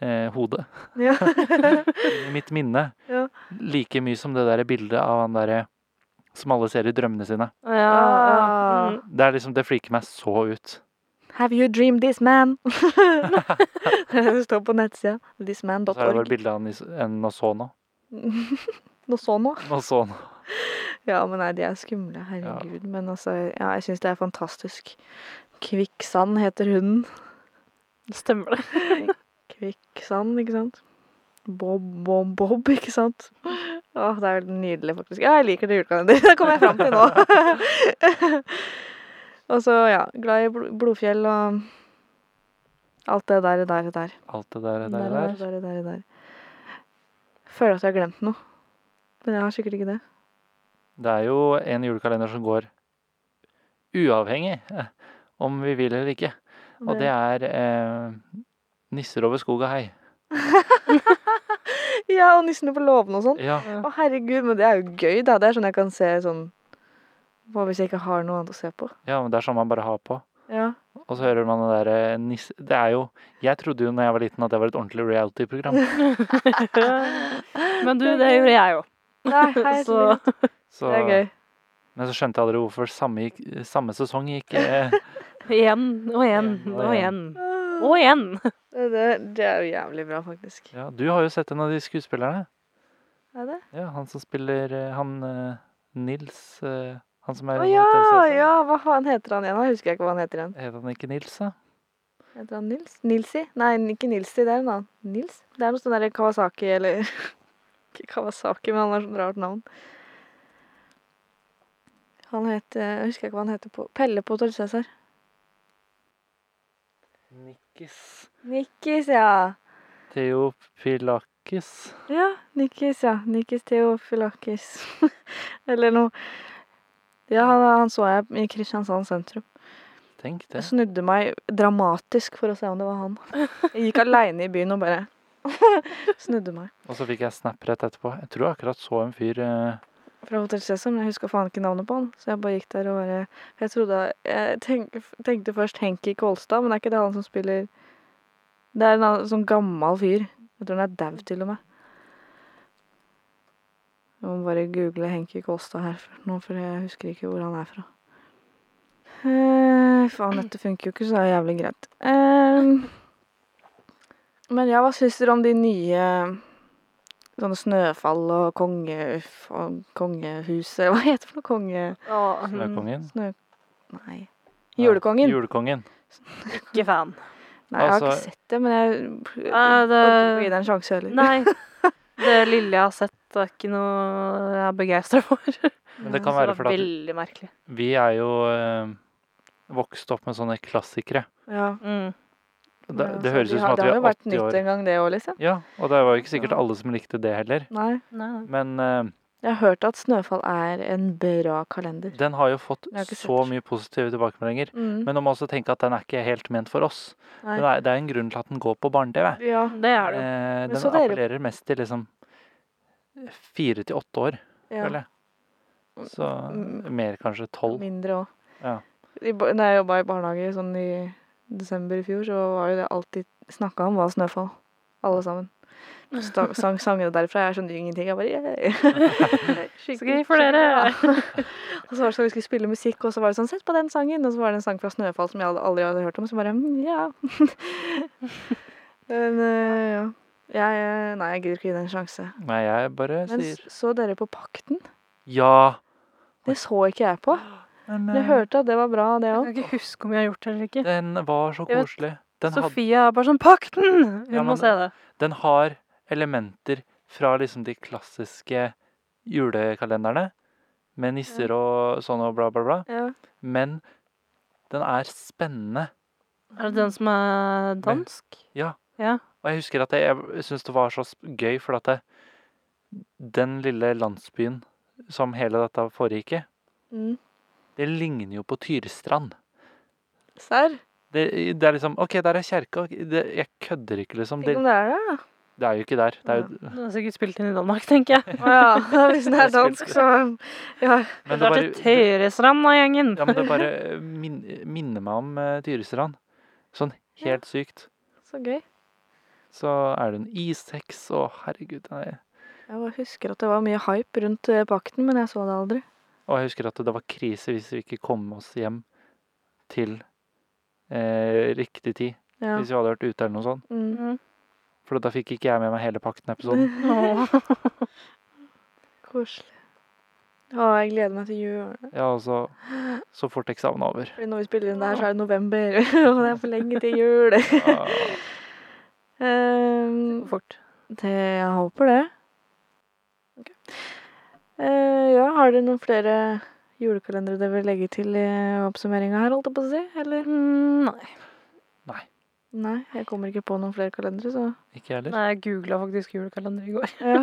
Speaker 1: eh, hode.
Speaker 2: Ja.
Speaker 1: I mitt minne.
Speaker 2: Ja.
Speaker 1: Like mye som det der bildet av han derre som alle ser i drømmene sine.
Speaker 3: Ja, ja.
Speaker 2: Ah.
Speaker 3: Mm.
Speaker 1: Det er liksom, det freaker meg så ut.
Speaker 2: Have you dreamed this man? det står på nettsida.
Speaker 1: Og så er det
Speaker 2: Thisman.org.
Speaker 1: bare bildet av han i s- en og så nå.
Speaker 2: Noe sånn òg.
Speaker 1: Og så nå.
Speaker 2: Ja, men nei, de er skumle. Herregud. Men altså, ja, jeg syns det er fantastisk. Kvikksand heter hunden.
Speaker 3: Stemmer det.
Speaker 2: Kvikksand, ikke sant? Bob, Bob, Bob, ikke sant? Åh, det er veldig nydelig, faktisk. Ja, jeg liker det julekalender. Det kommer jeg fram til nå. og så, ja. Glad i bl Blodfjell og alt det der, der, der.
Speaker 1: Alt det der, det
Speaker 3: Der,
Speaker 1: der,
Speaker 2: Der,
Speaker 1: der.
Speaker 2: der, der, der. Føler at jeg har glemt noe. Men jeg har sikkert ikke det.
Speaker 1: Det er jo en julekalender som går uavhengig eh, om vi vil eller ikke. Og det er eh, Nisser over skog og hei.
Speaker 2: Ja, og nissene på låven og sånn.
Speaker 1: Ja,
Speaker 2: Å, herregud, men det er jo gøy, da. Det er sånn jeg kan se sånn Hva hvis jeg ikke har noe annet å se på?
Speaker 1: ja, men det er sånn man bare har på.
Speaker 2: Ja.
Speaker 1: Og så hører man det derre nisse... Det er jo Jeg trodde jo når jeg var liten at det var et ordentlig reality-program.
Speaker 3: Men du, det gjorde jeg jo.
Speaker 2: Nei, hei,
Speaker 3: Så
Speaker 2: så
Speaker 1: Så-
Speaker 2: det er gøy.
Speaker 1: Men så skjønte jeg aldri hvorfor samme, gikk- samme sesong gikk eh,
Speaker 3: igjen og igjen og igjen. Og igjen.
Speaker 2: Det, det, det er jo jævlig bra, faktisk.
Speaker 1: ja, Du har jo sett en av de skuespillerne.
Speaker 2: Er det?
Speaker 1: Ja, Han som spiller eh, han eh, Nils eh, Han som er
Speaker 2: Å
Speaker 1: i
Speaker 2: ja,
Speaker 1: TV-serien.
Speaker 2: ja! Hva faen heter han igjen? da? husker jeg ikke hva han heter igjen.
Speaker 1: Heter han ikke Nils, da?
Speaker 2: Heter han Nils? Nilsi? Nei, ikke Nilsi, det er en annen. Nils? Det er noe sånn derre Kawasaki eller Ikke Kawasaki, men han har sånn rart navn. Han heter Jeg husker ikke hva han heter på Pelle på Torg Cæsar.
Speaker 1: Nikkis.
Speaker 2: Nikkis, ja.
Speaker 1: Theopilakis.
Speaker 2: Ja, Nikkis, ja. Nikkis Theofilakis. eller noe. Ja, han, han så jeg i Kristiansand sentrum.
Speaker 1: Tenk det.
Speaker 2: Jeg snudde meg dramatisk for å se om det var han. Jeg gikk aleine i byen og bare snudde meg.
Speaker 1: Og så fikk jeg snap rett etterpå. Jeg tror jeg akkurat så en fyr eh,
Speaker 2: fra Hotel Cæsar, men jeg huska faen ikke navnet på han. Så jeg bare gikk der og bare Jeg trodde Jeg tenk, tenkte først Henki Kolstad, men er ikke det han som spiller Det er en annen, sånn gammel fyr. Jeg tror han er dau til og med. Jeg må bare google Henki Kolstad her for- nå, for jeg husker ikke hvor han er fra. Eh, faen, dette funker jo ikke, så det er jævlig greit. Eh, men ja, hva syns dere om de nye Sånne snøfall og konge, uff, og kongehuset Hva heter det for noe? Konge...
Speaker 3: Og, mm,
Speaker 1: Snøkongen.
Speaker 2: Snø... Nei.
Speaker 1: Nei,
Speaker 2: Julekongen?
Speaker 1: Julekongen.
Speaker 3: ikke fan.
Speaker 2: Nei, jeg har
Speaker 1: Altså-
Speaker 2: ikke sett det, men jeg jeg
Speaker 3: Nei, det-
Speaker 2: orker ikke å gi det en sjanse heller.
Speaker 3: Nei. Det lille jeg har sett, er ikke noe jeg er begeistra for.
Speaker 1: Men det kan være
Speaker 3: det var
Speaker 1: fordi at
Speaker 3: veldig merkelig.
Speaker 1: vi er jo eh, vokst opp med sånne klassikere.
Speaker 2: Ja.
Speaker 3: Mm.
Speaker 1: Det,
Speaker 2: Ja,
Speaker 1: det
Speaker 2: så
Speaker 1: høres
Speaker 2: de
Speaker 1: ut som
Speaker 2: har-
Speaker 1: at vi
Speaker 2: Det har
Speaker 1: er
Speaker 2: jo vært
Speaker 1: 80
Speaker 2: nytt
Speaker 1: år.
Speaker 2: en gang, det òg, liksom.
Speaker 1: Ja, og det var jo ikke sikkert alle som likte det heller.
Speaker 2: Nei.
Speaker 3: Nei, nei.
Speaker 1: Men eh,
Speaker 2: Jeg har hørt at Snøfall er en bra kalender.
Speaker 1: den har jo fått
Speaker 2: Jeg har ikke sett
Speaker 1: så
Speaker 2: det.
Speaker 1: mye positive tilbakemeldinger.
Speaker 2: Mm.
Speaker 1: Men man må også tenke at den er ikke helt ment for oss.
Speaker 2: Nei.
Speaker 1: Den er, det er en grunn til at den går på barne-TV.
Speaker 2: ja.
Speaker 3: Det er det
Speaker 1: Eh,
Speaker 3: jo.
Speaker 2: Men
Speaker 1: den
Speaker 2: så dere-
Speaker 1: appellerer mest til liksom fire til åtte år,
Speaker 2: ja.
Speaker 1: føler jeg. Så
Speaker 2: Mm.
Speaker 1: mer kanskje tolv.
Speaker 2: Mindre òg.
Speaker 1: Ja.
Speaker 2: Da jeg jobba i barnehage sånn i desember i fjor, så var jo det alltid snakka om, var Snøfall. Alle sammen. Sta- Sang sangene derfra. Jeg skjønner jo ingenting. Jeg bare yeah.
Speaker 3: Så gøy for dere.
Speaker 2: Og så var det sånn vi skulle spille musikk, og så var det sånn Sett på den sangen! Og så var det en sang fra Snøfall som jeg hadde- aldri hadde hørt om, så bare mm, Ja. Men eh, ja. Jeg eh, Nei, jeg gidder ikke gi det en sjanse.
Speaker 1: Nei, jeg bare
Speaker 2: Men s-
Speaker 1: sier
Speaker 2: så dere på Pakten?
Speaker 1: ja.
Speaker 2: Det så ikke jeg på.
Speaker 1: Men
Speaker 2: Men jeg
Speaker 1: eh,
Speaker 2: hørte at det var bra, det òg.
Speaker 3: Jeg kan ikke huske om jeg har gjort det eller ikke.
Speaker 1: den var så
Speaker 3: Jeg vet-
Speaker 1: koselig. Den, had,
Speaker 3: Sofia er bare sånn 'Pakten!' Hun
Speaker 1: Ja,
Speaker 3: må
Speaker 1: men-
Speaker 3: se det.
Speaker 1: den har elementer fra liksom de klassiske julekalenderne med nisser og sånn og bla, bla, bla.
Speaker 2: Ja.
Speaker 1: Men den er spennende.
Speaker 3: Er det den som er dansk?
Speaker 1: Ja.
Speaker 3: Ja.
Speaker 1: Og jeg husker at jeg, jeg syntes det var så sp- gøy, for at det, den lille landsbyen som hele dette foregikk i,
Speaker 2: Mm.
Speaker 1: det ligner jo på Tyrstrand.
Speaker 2: Serr?
Speaker 1: Det, det er liksom OK, der er kjerka. ok, Det, jeg kødder ikke, liksom. Det,
Speaker 2: Tenk om det er det, da.
Speaker 1: det er jo ikke der. Det er jo,
Speaker 3: Den er sikkert spilt inn i Danmark, tenker jeg.
Speaker 2: Å ja. Hvis den er dansk, så Ja.
Speaker 1: men
Speaker 3: det
Speaker 1: det
Speaker 3: er
Speaker 1: bare,
Speaker 3: til Tøyrestrand av gjengen.
Speaker 1: ja, men det bare min, minner meg om eh, Tyrstrand. Sånn helt sykt.
Speaker 2: Så gøy.
Speaker 1: Så er det en isheks og herregud. Nei.
Speaker 2: Jeg bare husker at det var mye hype rundt eh, Pakten, men jeg så det aldri.
Speaker 1: Og jeg husker at det var krise hvis vi ikke kom oss hjem til eh, riktig tid.
Speaker 2: Ja.
Speaker 1: Hvis vi hadde vært ute eller noe sånt.
Speaker 2: Mm.
Speaker 1: For da fikk ikke jeg med meg hele Pakten-episoden.
Speaker 3: Åh.
Speaker 2: Koselig. Å, jeg gleder meg til jul.
Speaker 1: Ja, og så, så fort eksamen er over.
Speaker 2: Fordi når vi spiller inn det her, så er det november, og det er for lenge til jul.
Speaker 1: Ah,
Speaker 2: Ehm,
Speaker 3: Fort.
Speaker 2: det, jeg håper det. Ok. Eh, ja, har dere noen flere julekalendere dere vil legge til i oppsummeringa her, holdt jeg på å si? Eller?
Speaker 3: Mm, Nei.
Speaker 2: Nei, jeg kommer ikke på noen flere kalendere, så
Speaker 1: ikke jeg heller.
Speaker 3: Nei, jeg googla faktisk julekalender i går.
Speaker 2: ja.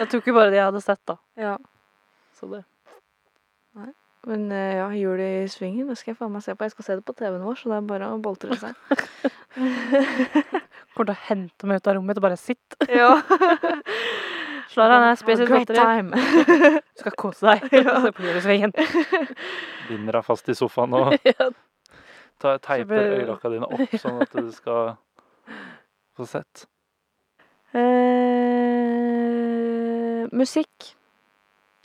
Speaker 3: Jeg tok jo bare det jeg hadde sett, da.
Speaker 2: ja.
Speaker 3: Så det.
Speaker 2: Men eh, ja, Jul i Svingen det skal jeg faen meg se på. Jeg skal se det på TV-en vår, så det er bare å boltre seg.
Speaker 3: Kommer til å hente meg ut av rommet og bare sitt.
Speaker 2: ja.
Speaker 3: Slara, nei,
Speaker 2: Have a
Speaker 3: spis litt
Speaker 2: great
Speaker 3: godteri.
Speaker 2: time.
Speaker 3: Du skal kose deg.
Speaker 2: Ja.
Speaker 3: Se på julesvingen.
Speaker 1: Binder deg fast i sofaen og
Speaker 3: Ja.
Speaker 1: ta, teiper
Speaker 3: blir-
Speaker 1: øyelokka dine opp, sånn at du skal få sett.
Speaker 2: Eh, musikk.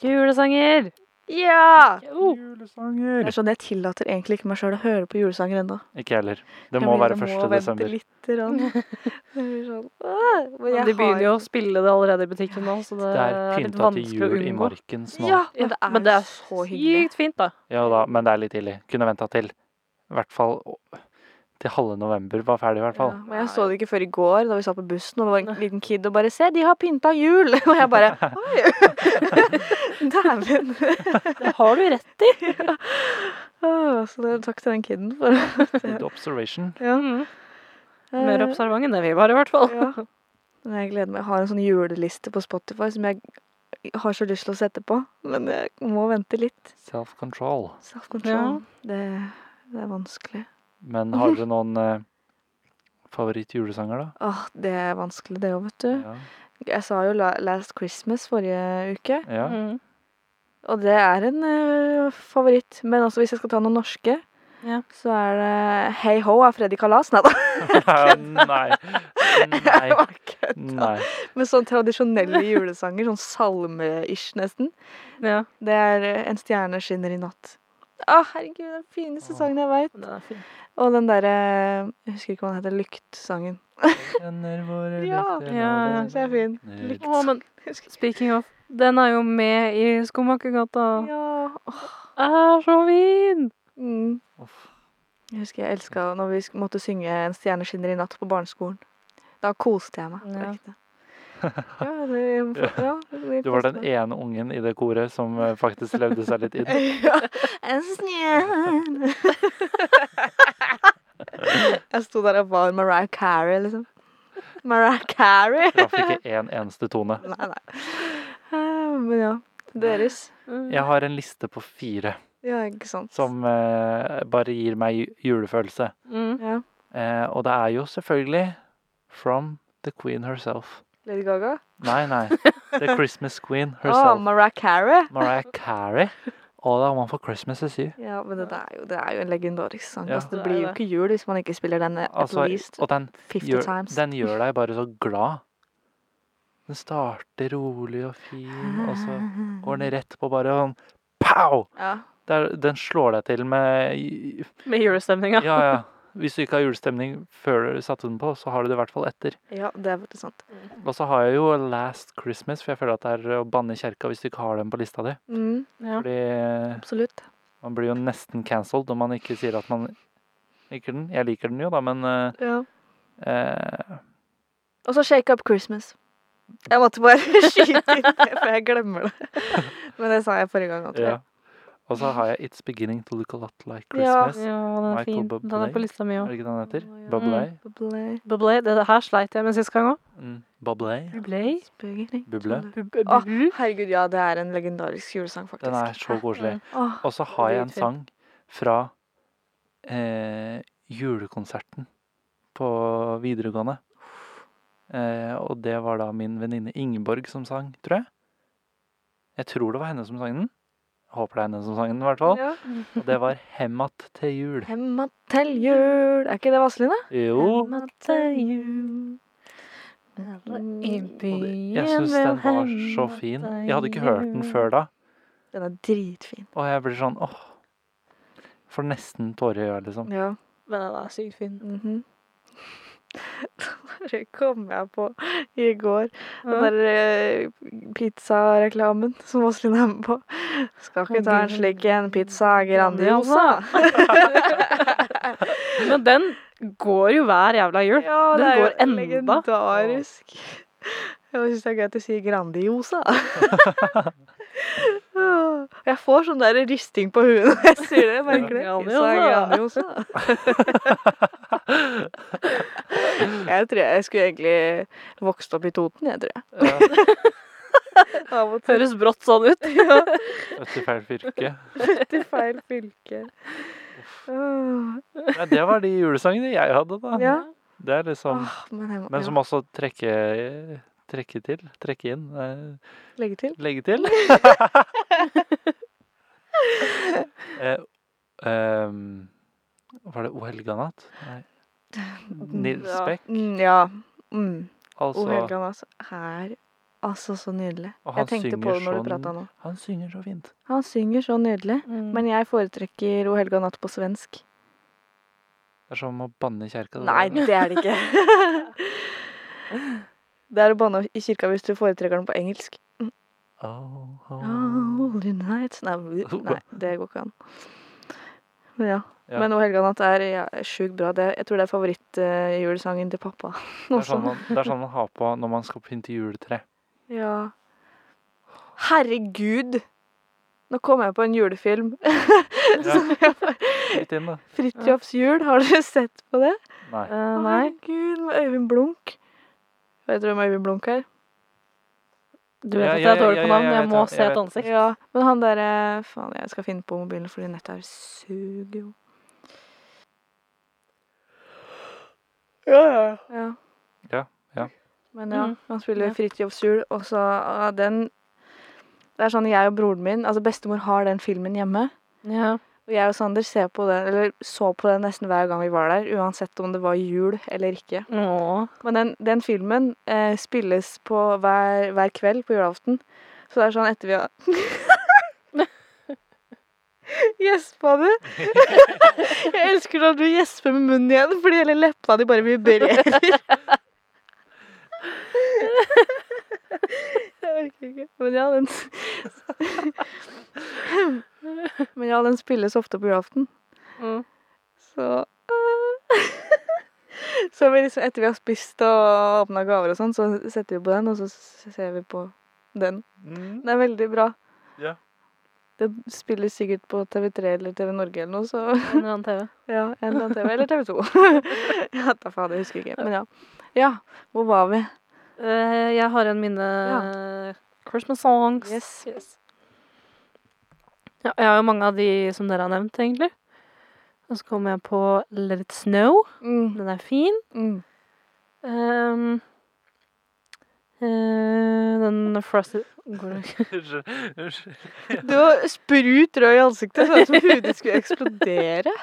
Speaker 3: Julesanger!
Speaker 2: Ja!
Speaker 1: Oh.
Speaker 3: Jo.
Speaker 2: Det
Speaker 1: Julesanger!
Speaker 2: er sånn, Jeg tillater egentlig ikke meg sjøl å høre på julesanger ennå.
Speaker 1: Ikke jeg heller. Det
Speaker 2: Jeg
Speaker 1: må
Speaker 2: blir-
Speaker 1: være
Speaker 2: jeg
Speaker 1: 1.
Speaker 2: vente
Speaker 1: desember.
Speaker 2: lite grann. Det blir sånn, «Åh!» Men
Speaker 3: Men
Speaker 2: jeg
Speaker 3: de begynner jo
Speaker 2: har-
Speaker 3: å spille det allerede i butikken nå, så det,
Speaker 1: Det er
Speaker 3: er eh, litt
Speaker 1: pynta til
Speaker 3: vanskelig å
Speaker 1: jul i
Speaker 3: unngå.
Speaker 1: marken snart. Ja.
Speaker 2: Ja, men det er,
Speaker 3: Men det er
Speaker 2: så hyggelig.
Speaker 3: sykt fint, da.
Speaker 1: da, men det er litt tidlig. Kunne venta til. I hvert fall til halve november var ferdig, i hvert
Speaker 2: Ja,
Speaker 1: fall.
Speaker 2: men jeg så det ikke før i går, da vi satt på bussen, og det var en liten kid og bare 'Se, de har pynta jul!' Og jeg bare Oi! Dæven.
Speaker 3: Det har du rett i.
Speaker 2: Åh, Så det, takk til den kiden for
Speaker 1: Good observation.
Speaker 3: Ja. Mm. Mer observant enn det vi var, i hvert fall.
Speaker 2: Ja. Men jeg gleder meg. Jeg har en sånn juleliste på Spotify som jeg har så lyst til å sette på, men jeg må vente litt.
Speaker 1: Self-control.
Speaker 2: Self-control. sånn, Det, det er vanskelig.
Speaker 1: Men har dere noen eh, favoritt-julesanger, da?
Speaker 2: Åh, det er vanskelig det òg, vet du.
Speaker 1: Ja.
Speaker 2: Jeg sa jo La- Last Christmas forrige uke,
Speaker 1: ja.
Speaker 3: Mm.
Speaker 2: og det er en eh, favoritt. Men også hvis jeg skal ta noen norske,
Speaker 3: Ja.
Speaker 2: så er det Hey Ho av Freddy Kalas. Nei da.
Speaker 1: Nei. Nei. Nei.
Speaker 2: Men sånn tradisjonelle julesanger, sånn salme-ish nesten.
Speaker 3: ja.
Speaker 2: Det er eh, En stjerne skinner i natt. Å, herregud, den fineste
Speaker 1: Åh.
Speaker 2: sangen jeg veit.
Speaker 3: Den er fin.
Speaker 2: Og den derre Jeg husker ikke hva den heter. Lyktsangen.
Speaker 1: Kjenner våre
Speaker 2: Ja.
Speaker 1: lykter
Speaker 3: Ja,
Speaker 1: når
Speaker 3: ja. Eh,
Speaker 1: den
Speaker 2: Den syns jeg er fin.
Speaker 1: brenner.
Speaker 2: Lykt.
Speaker 3: Å, men speaking of, den er jo med i Skomakergata.
Speaker 2: Ja. åh,
Speaker 3: Er så fin!
Speaker 2: Mm.
Speaker 1: Uff.
Speaker 2: Jeg husker jeg elska når vi sk- måtte synge 'En stjerne skinner i natt' på barneskolen. Da koste jeg meg. det
Speaker 3: Ja.
Speaker 2: er ikke det. Ja, det, ja, det
Speaker 1: Du var den ene ungen i det koret som eh, faktisk levde seg litt inn.
Speaker 2: Ja. En stjerne Jeg sto der og var Mariah Carey, liksom. Mariah Carey!
Speaker 1: Traff ikke én eneste tone.
Speaker 2: Nei, nei. Eh, Men ja. Deres.
Speaker 1: Jeg har en liste på fire
Speaker 2: Ja, ikke sant.
Speaker 1: som eh, bare gir meg ju- julefølelse.
Speaker 3: Mm.
Speaker 2: Ja.
Speaker 1: Eh, og det er jo selvfølgelig From the Queen Herself.
Speaker 2: Lady Gaga.
Speaker 1: Nei, nei. The Christmas Queen
Speaker 2: Å,
Speaker 1: Herself.
Speaker 2: Mariah Carey!
Speaker 1: Mariah Carey. All I want for Christmas is you.
Speaker 2: Ja, men det er jo, det er jo en legendarisk sang.
Speaker 1: Ja.
Speaker 2: Altså, det
Speaker 3: Det er
Speaker 2: blir jo
Speaker 3: det.
Speaker 2: ikke jul hvis man ikke spiller den eh, at
Speaker 1: Altså,
Speaker 2: least
Speaker 1: og den
Speaker 2: 50
Speaker 1: gjør,
Speaker 2: times.
Speaker 1: den gjør deg bare så glad. Den starter rolig og fin, altså, og så går
Speaker 2: Ah.
Speaker 1: den rett på bare sånn pow!
Speaker 2: Ja.
Speaker 1: Det er- Den slår deg til med
Speaker 3: Med julestemninga.
Speaker 1: Ja, ja. Hvis du ikke har julestemning før du satte den på, så har du det i hvert fall etter.
Speaker 2: ja, det er faktisk sant.
Speaker 1: Og så har jeg jo Last Christmas, for jeg føler at det er å banne i kjerka hvis du ikke har den på lista di.
Speaker 2: Mm,
Speaker 3: Ja.
Speaker 1: Fordi eh,
Speaker 2: absolutt.
Speaker 1: man blir jo nesten cancelled når man ikke sier at man liker den. Jeg liker den jo, da, men eh,
Speaker 2: Ja.
Speaker 1: eh,
Speaker 2: Og så Shake Up Christmas. Jeg måtte bare skyte inn det, for jeg glemmer det. Men det sa jeg forrige gang. Tror
Speaker 1: Ja.
Speaker 2: jeg.
Speaker 1: Og så har jeg It's Beginning to Look a Lot Like
Speaker 2: Ja.
Speaker 1: Christmas.
Speaker 3: ja, den er
Speaker 1: Michael
Speaker 3: fin. Den er på
Speaker 1: Bublé.
Speaker 3: lista mi
Speaker 1: Er
Speaker 3: òg.
Speaker 1: det ikke den heter?
Speaker 2: Å, ja.
Speaker 1: Bublé?
Speaker 2: Bublé,
Speaker 3: Bublé. Det her sleit jeg med sist gang òg.
Speaker 1: Mm. Bublé?
Speaker 3: Bublé.
Speaker 2: spaghetti,
Speaker 1: Bublé.
Speaker 2: tulle.
Speaker 3: Bub- eh,
Speaker 2: Åh,
Speaker 3: bu-
Speaker 2: herregud, ja, det er en legendarisk julesang, faktisk.
Speaker 1: Den er så koselig.
Speaker 2: Åh,
Speaker 1: Og så har jeg en
Speaker 2: Dritfin.
Speaker 1: sang fra eh, julekonserten på videregående. Eh, og det var da min venninne Ingeborg som sang, tror jeg. Jeg tror det var henne som sang den. Jeg Håper det er henne som sang den, i hvert fall.
Speaker 2: ja.
Speaker 1: Og det var 'Hemat til jul'.
Speaker 2: Hemma til jul Er ikke det Vazelina?
Speaker 1: Jo.
Speaker 3: Hemma til jul.
Speaker 1: Mm. Jeg syns den var så fin. Jeg hadde ikke hørt den før da.
Speaker 2: Den er dritfin.
Speaker 1: Og jeg blir sånn åh. Får nesten tårer i øyet, liksom.
Speaker 2: Ja.
Speaker 3: Men den er sykt fin.
Speaker 2: mhm. Det kom jeg på i går. Den der
Speaker 3: Ja.
Speaker 2: eh, pizzareklamen som Åslin er med på. Skal ikke ta en slik en pizza Grandiosa.
Speaker 3: Men den går jo hver jævla jul.
Speaker 2: Ja,
Speaker 3: Den
Speaker 2: det er
Speaker 3: går
Speaker 2: jo
Speaker 3: enda.
Speaker 2: legendarisk. Jeg syns det er gøy at de sier Grandiosa. Jeg får sånn der risting på huet når jeg sier det. Merker det. Pizza
Speaker 3: Grandiosa.
Speaker 2: Grandiosa. Jeg tror jeg, jeg skulle egentlig vokst opp i Toten, jeg tror jeg.
Speaker 1: Eh,
Speaker 2: Av og til.
Speaker 3: Høres brått sånn ut.
Speaker 2: Ja,
Speaker 1: Etter feil fyrke.
Speaker 2: til feil fylke. Åh,
Speaker 1: Nei, det var de julesangene jeg hadde, da.
Speaker 2: Ja.
Speaker 1: Det er liksom
Speaker 2: Åh, men jeg må
Speaker 1: Men
Speaker 2: ja,
Speaker 1: som også trekker trekke til. Trekke inn. eh,
Speaker 2: legge til.
Speaker 1: Legge til. eh, ehm, var det O helga natt? Nei. Nils
Speaker 3: Ja.
Speaker 1: Beck.
Speaker 2: Mm, ja. Mm. O
Speaker 1: Altså,
Speaker 2: Helgan, altså. Her Altså, så nydelig.
Speaker 1: Og han
Speaker 2: Jeg tenkte på
Speaker 1: synger
Speaker 2: det når du
Speaker 1: sånn-
Speaker 2: prata nå.
Speaker 1: han synger så fint.
Speaker 2: Han synger så nydelig.
Speaker 3: Mm. Men
Speaker 2: Men jeg foretrekker O helga natt på svensk.
Speaker 1: Det er som å banne i kjerka. det
Speaker 2: Nei,
Speaker 1: der.
Speaker 2: det er det ikke. Det er å banne i kirka hvis du foretrekker den på engelsk.
Speaker 1: Oh, oh.
Speaker 2: Holy night Nei, vi- nei det går ikke an. Men ja.
Speaker 1: Ja.
Speaker 2: Men O helga natt er ja, sjukt bra. Det, jeg tror det er favorittjulesangen til pappa.
Speaker 1: Det er
Speaker 2: Også.
Speaker 1: sånn man, det er sånn man har på når man skal pynte juletre.
Speaker 2: Ja. Herregud! Nå kom jeg på en julefilm. Som jeg bare-
Speaker 1: Litt inn, da.
Speaker 2: Fridtjofs jul, har dere sett på det?
Speaker 1: Nei.
Speaker 3: Eh, nei.
Speaker 2: Herregud, med Øyvind Blunk. Vet du hvem Øyvind Blunk er?
Speaker 3: Du vet
Speaker 1: Ja,
Speaker 3: at
Speaker 1: ja,
Speaker 3: jeg er dårlig
Speaker 1: ja,
Speaker 3: på
Speaker 1: ja,
Speaker 3: navn.
Speaker 1: jeg
Speaker 3: Jeg
Speaker 1: vet
Speaker 3: må
Speaker 1: det,
Speaker 3: se
Speaker 1: jeg
Speaker 3: et
Speaker 1: vet
Speaker 3: ansikt.
Speaker 2: Ja, men han derre Faen, jeg skal finne på mobilen fordi nettet her suger jo.
Speaker 3: Ja,
Speaker 2: Ja.
Speaker 1: Ja, ja.
Speaker 2: Men ja,
Speaker 3: Mm.
Speaker 2: han spiller
Speaker 3: Ja.
Speaker 2: Fridtjofs jul, og så ah, den Det er sånn jeg og broren min Altså, bestemor har den filmen hjemme.
Speaker 3: ja.
Speaker 2: Og jeg og Sander ser på den, eller så på den nesten hver gang vi var der, uansett om det var jul eller ikke.
Speaker 3: Åh.
Speaker 2: Men den, den filmen eh, spilles på hver, hver kveld på julaften. Så det er sånn etter vi har Gjespa du? Jeg elsker når du gjesper med munnen igjen, fordi hele leppa di bare vibrerer. Jeg orker ikke. Men ja, den Men ja, den spilles ofte på julaften.
Speaker 3: Mm.
Speaker 2: Så øh. Så vi liksom, etter vi har spist og åpna gaver og sånn, så setter vi på den, og så s- ser vi på den.
Speaker 1: Mm.
Speaker 2: Den er veldig bra.
Speaker 1: Ja.
Speaker 2: Den spilles sikkert på TV3 eller TV Norge eller noe, så
Speaker 3: En eller annen TV.
Speaker 2: ja, en eller annen TV eller TV 2. ja, da faen, jeg husker ikke. Men ja. Ja, hvor var vi?
Speaker 3: Eh, jeg har en mine Christmas songs.
Speaker 2: Yes.
Speaker 3: Ja, jeg har jo mange av de som dere har nevnt, egentlig. Og så kommer jeg på Let It Snow.
Speaker 2: Mm,
Speaker 3: Den er fin.
Speaker 2: mm.
Speaker 3: Ehm, eh, den Frosted Går det ikke?
Speaker 1: Unnskyld.
Speaker 2: Du var sprut rød i ansiktet, sånn som hodet skulle eksplodere.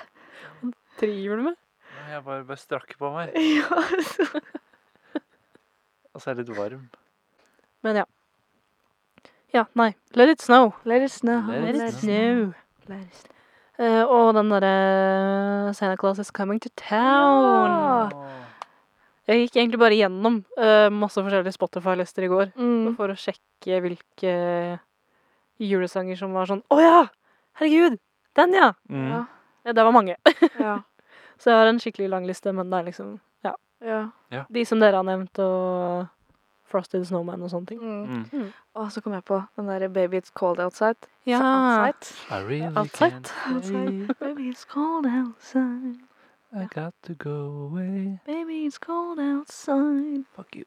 Speaker 3: Driver du med?
Speaker 1: Nei, Jeg bare, bare strakk på meg.
Speaker 2: ja, altså. så.
Speaker 1: Og så er jeg litt varm.
Speaker 3: Men ja. Ja, nei. Let It Snow.
Speaker 2: Let it snow.
Speaker 1: Let
Speaker 3: Let
Speaker 1: it snow.
Speaker 3: It Snow.
Speaker 2: Let it snow.
Speaker 3: Eh, og den derre Santa Claus is coming to town.
Speaker 2: Ja.
Speaker 1: Åh.
Speaker 3: Jeg gikk egentlig bare gjennom eh, masse forskjellige Spotify-lister i går
Speaker 2: Mm.
Speaker 3: for å sjekke hvilke julesanger som var sånn Å ja! Herregud! Den, ja!
Speaker 1: Mm.
Speaker 2: Ja.
Speaker 3: Ja, Det var mange.
Speaker 2: Ja.
Speaker 3: Så jeg har en skikkelig lang liste, men det er liksom
Speaker 2: ja.
Speaker 3: de som dere har nevnt, og Frosted Snowman og sånne ting.
Speaker 2: Mm.
Speaker 1: Mm.
Speaker 2: Og så kom jeg på den der Baby It's Cold Outside.
Speaker 3: Ja.
Speaker 2: Outside.
Speaker 1: I really
Speaker 3: Outside.
Speaker 1: can't
Speaker 2: Outside.
Speaker 1: stay.
Speaker 2: Baby it's cold outside.
Speaker 1: I got to go away.
Speaker 2: Baby it's cold outside.
Speaker 1: Fuck you.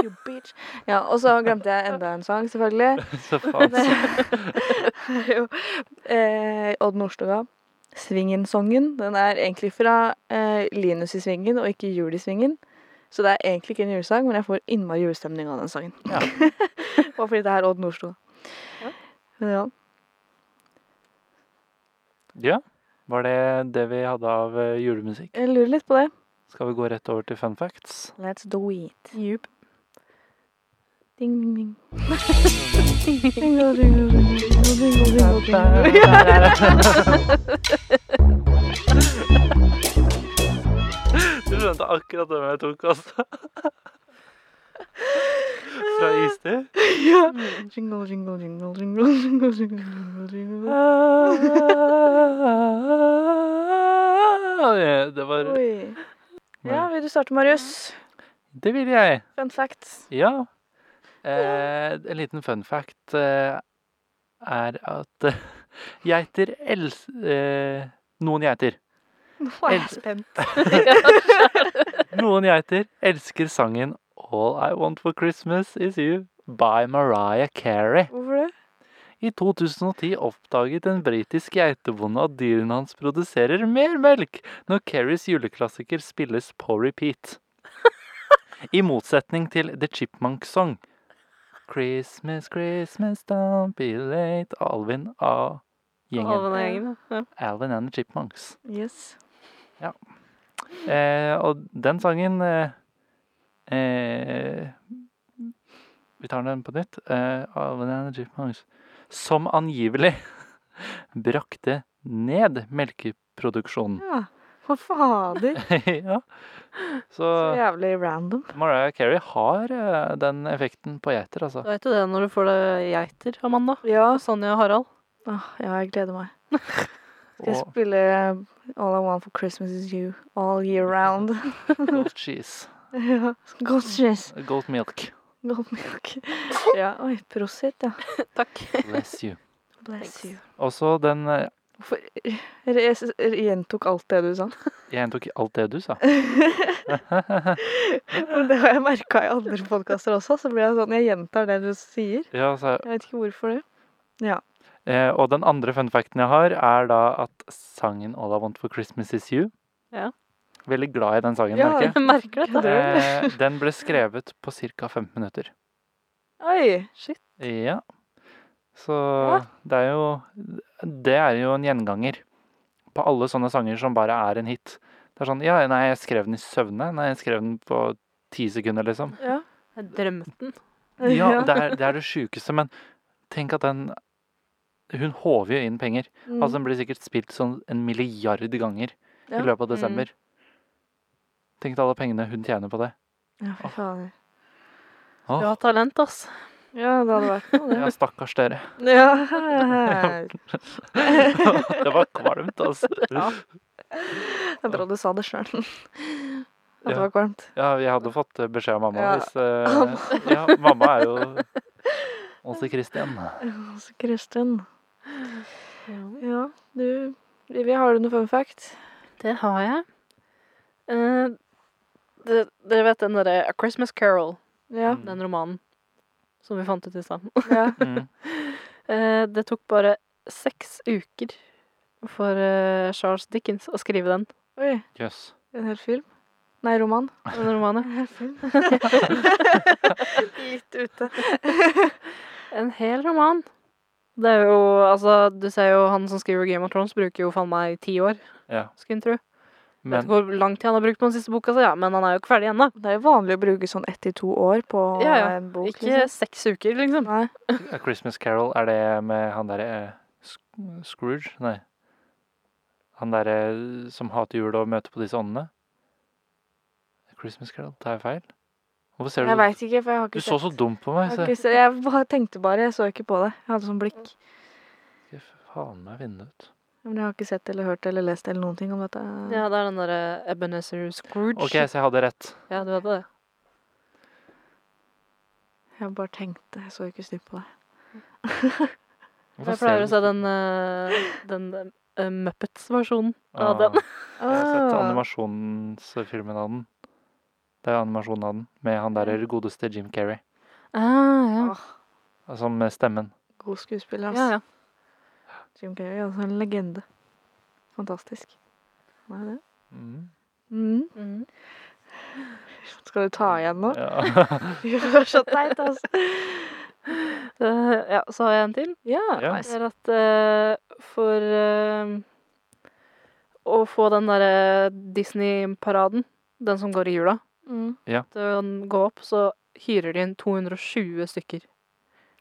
Speaker 2: You bitch. Ja, og så glemte jeg enda en sang, selvfølgelig.
Speaker 1: Så faen.
Speaker 2: Det er jo eh, Odd Nordstoga. Svingen-songen. Den er egentlig fra eh, Linus i Svingen og ikke Jul i Svingen. Så det er egentlig ikke en julesang, men jeg får innmari julestemning av den sangen.
Speaker 1: Ja.
Speaker 2: Bare fordi det er Odd Nordstoga.
Speaker 3: Ja.
Speaker 2: Men ja.
Speaker 1: Ja, var det det vi hadde av eh, julemusikk?
Speaker 2: Jeg lurer litt på det.
Speaker 1: Skal vi gå rett over til fun facts?
Speaker 2: Let's do it.
Speaker 3: Djup.
Speaker 2: Ding, ding, ding. Ding, ding, ding, ding, ding, ding, ding, ding, ding, ding.
Speaker 1: Du skjønte akkurat hvem jeg tok, altså. Fra Istid?
Speaker 2: Ja. Jingle, jingle, jingle, jingle, jingle, jingle, jingle, jingle.
Speaker 1: Det var
Speaker 2: Oi. Ja, vil du starte, Marius?
Speaker 1: Det vil jeg.
Speaker 2: Fun facts.
Speaker 1: Ja. Eh, en liten fun fact eh, er at eh, geiter els... Eh, noen geiter.
Speaker 2: Nå
Speaker 1: er jeg
Speaker 2: spent.
Speaker 1: Noen geiter elsker sangen All I Want For Christmas Is You by Mariah Carey.
Speaker 2: Hvorfor det?
Speaker 1: I 2010 oppdaget en britisk geitebonde at dyrene hans produserer mer melk når Kerrys juleklassiker spilles på repeat. I motsetning til The Chipmunk Song. Christmas, Christmas, don't be late. Alvin av gjengen.
Speaker 3: Alle gjengen. Ja.
Speaker 1: Alvin and the Chipmunks.
Speaker 2: Yes.
Speaker 1: Eh, og den sangen eh, eh, Vi tar den på nytt. Eh, Alvin and the Chipmunks. Som angivelig brakte ned melkeproduksjonen.
Speaker 2: Ja. For fader.
Speaker 1: ja. Så
Speaker 2: Så jævlig random.
Speaker 1: Mariah Carey har eh, den effekten på geiter, altså.
Speaker 3: Du vet jo det når du får det geiter, Amanda.
Speaker 2: Ja.
Speaker 3: Sonja og Harald.
Speaker 2: Åh, ja, jeg gleder meg. Skal jeg
Speaker 1: Og
Speaker 2: spille All I Want for Christmas Is You all year round.
Speaker 1: goat cheese.
Speaker 2: ja. Godt stress.
Speaker 1: Goat milk.
Speaker 2: Godt milk. Ja, oi, prosit, ja.
Speaker 3: Takk.
Speaker 1: Bless you.
Speaker 2: Bless you.
Speaker 1: Også den eh,
Speaker 2: Hvorfor jeg s- jeg gjentok alt det du sa?
Speaker 1: Jeg gjentok alt det du sa.
Speaker 2: Men det har jeg merka i andre podkaster også. Så blir jeg sånn, jeg gjentar det du sier.
Speaker 1: Ja, altså, så
Speaker 2: Jeg vet ikke hvorfor det.
Speaker 1: Eh, og den andre funfacten jeg har, er da at sangen All I Want for Christmas Is You
Speaker 3: Ja.
Speaker 1: Veldig glad i den sangen,
Speaker 2: Ja,
Speaker 1: merker jeg.
Speaker 3: Jeg merker dette.
Speaker 1: Eh, den ble skrevet på ca. 15 minutter.
Speaker 2: Oi!
Speaker 3: Shit.
Speaker 1: Ja. Så
Speaker 2: Ja.
Speaker 1: det er jo Det er jo en gjenganger på alle sånne sanger som bare er en hit. Det er sånn Ja, nei, jeg skrev den i søvne. Nei, jeg skrev den på ti sekunder, liksom.
Speaker 2: Ja.
Speaker 3: Jeg drømte den.
Speaker 1: Ja, det er det, er det sjukeste, men tenk at den Hun håver jo inn penger.
Speaker 2: Mm.
Speaker 1: Altså, den blir sikkert spilt sånn en milliard ganger
Speaker 2: Ja.
Speaker 1: i løpet av
Speaker 3: Mm.
Speaker 1: desember. Tenk deg alle pengene hun tjener på det.
Speaker 2: ja, fy fader.
Speaker 1: Åh,
Speaker 3: Du har talent, ass.
Speaker 2: Ja, det hadde vært noe, det.
Speaker 1: ja, stakkars dere.
Speaker 2: Ja.
Speaker 1: det var kvalmt, altså. Ja.
Speaker 2: Det er bra du sa det sjøl. At det
Speaker 1: Ja.
Speaker 2: var kvalmt.
Speaker 1: vi hadde fått beskjed av mamma
Speaker 2: Ja.
Speaker 1: hvis eh, Ja, mamma er jo også Kristin.
Speaker 2: Altså, Kristin. Ja, du Vivi, har du noe fun fact?
Speaker 3: Det har jeg. Eh, det- Dere vet den derre A Christmas Carol,
Speaker 2: Ja.
Speaker 1: Mm.
Speaker 3: den romanen som vi fant ut i stad.
Speaker 2: ja.
Speaker 1: Mm.
Speaker 3: Eh, Det tok bare seks uker for eh, Charles Dickens å skrive den,
Speaker 2: Oi.
Speaker 1: Jøss.
Speaker 2: En hel film? Nei, roman.
Speaker 3: den romanen.
Speaker 2: En hel film. Litt ute.
Speaker 3: En hel roman. Det er jo, altså, du ser jo han som skriver Game of Thrones, bruker jo faen meg ti år,
Speaker 1: Ja.
Speaker 3: skulle en tro. Vet
Speaker 1: Men
Speaker 3: ikke hvor lang tid han har brukt på den siste boka, så ja, men han er jo ikke ferdig ennå.
Speaker 2: Det er jo vanlig å bruke sånn ett til to år på
Speaker 3: Ja, ja.
Speaker 2: en bok.
Speaker 3: Ikke seks uker, liksom.
Speaker 2: Nei.
Speaker 1: A Christmas Carol, er det med han derre eh, Sc- Scrooge? Nei. Han derre eh, som hater jul og møter på disse åndene? A Christmas Carol, tar jeg feil? Hvorfor ser
Speaker 2: Jeg
Speaker 1: du
Speaker 2: veit ikke, for jeg har
Speaker 1: Du
Speaker 2: ikke
Speaker 1: så så dum på meg.
Speaker 2: Jeg,
Speaker 1: Så
Speaker 2: har ikke sett. jeg bare tenkte bare, jeg så ikke på det. Jeg hadde sånn blikk.
Speaker 1: Skal faen meg vinne ut.
Speaker 2: Men jeg har ikke sett eller hørt eller lest eller noen ting om dette.
Speaker 3: Ja, det er den derre Ebenezer Scrooge.
Speaker 1: OK, så jeg hadde rett.
Speaker 3: Ja, du hadde det.
Speaker 2: Jeg bare tenkte, jeg så ikke snudd på det.
Speaker 1: Hvorfor
Speaker 3: Jeg pleier
Speaker 1: ser du-
Speaker 3: å se den, eh, den eh, Muppets-versjonen
Speaker 1: Ah,
Speaker 3: av den.
Speaker 1: Jeg har sett
Speaker 2: Ah.
Speaker 1: animasjonsfilmen av den. Det er animasjonen av den, med han der godeste Jim Carrey
Speaker 3: Ah,
Speaker 1: som med stemmen.
Speaker 2: God skuespiller,
Speaker 3: ja.
Speaker 2: ass.
Speaker 3: ja, ja.
Speaker 2: Jim Carrey er altså en legende. Fantastisk. Hva er det?
Speaker 1: Mm.
Speaker 2: Mm.
Speaker 3: Mm.
Speaker 2: Skal du ta igjen nå?
Speaker 1: Ja.
Speaker 2: Fy, Det var så teit, altså.
Speaker 3: Eh, ja, så har jeg en til.
Speaker 2: Ja.
Speaker 1: Ja.
Speaker 3: Det er at eh, for eh, å få den derre Disney-paraden, den som går i jula,
Speaker 2: Mm.
Speaker 3: til å gå opp, så hyrer de inn 220 stykker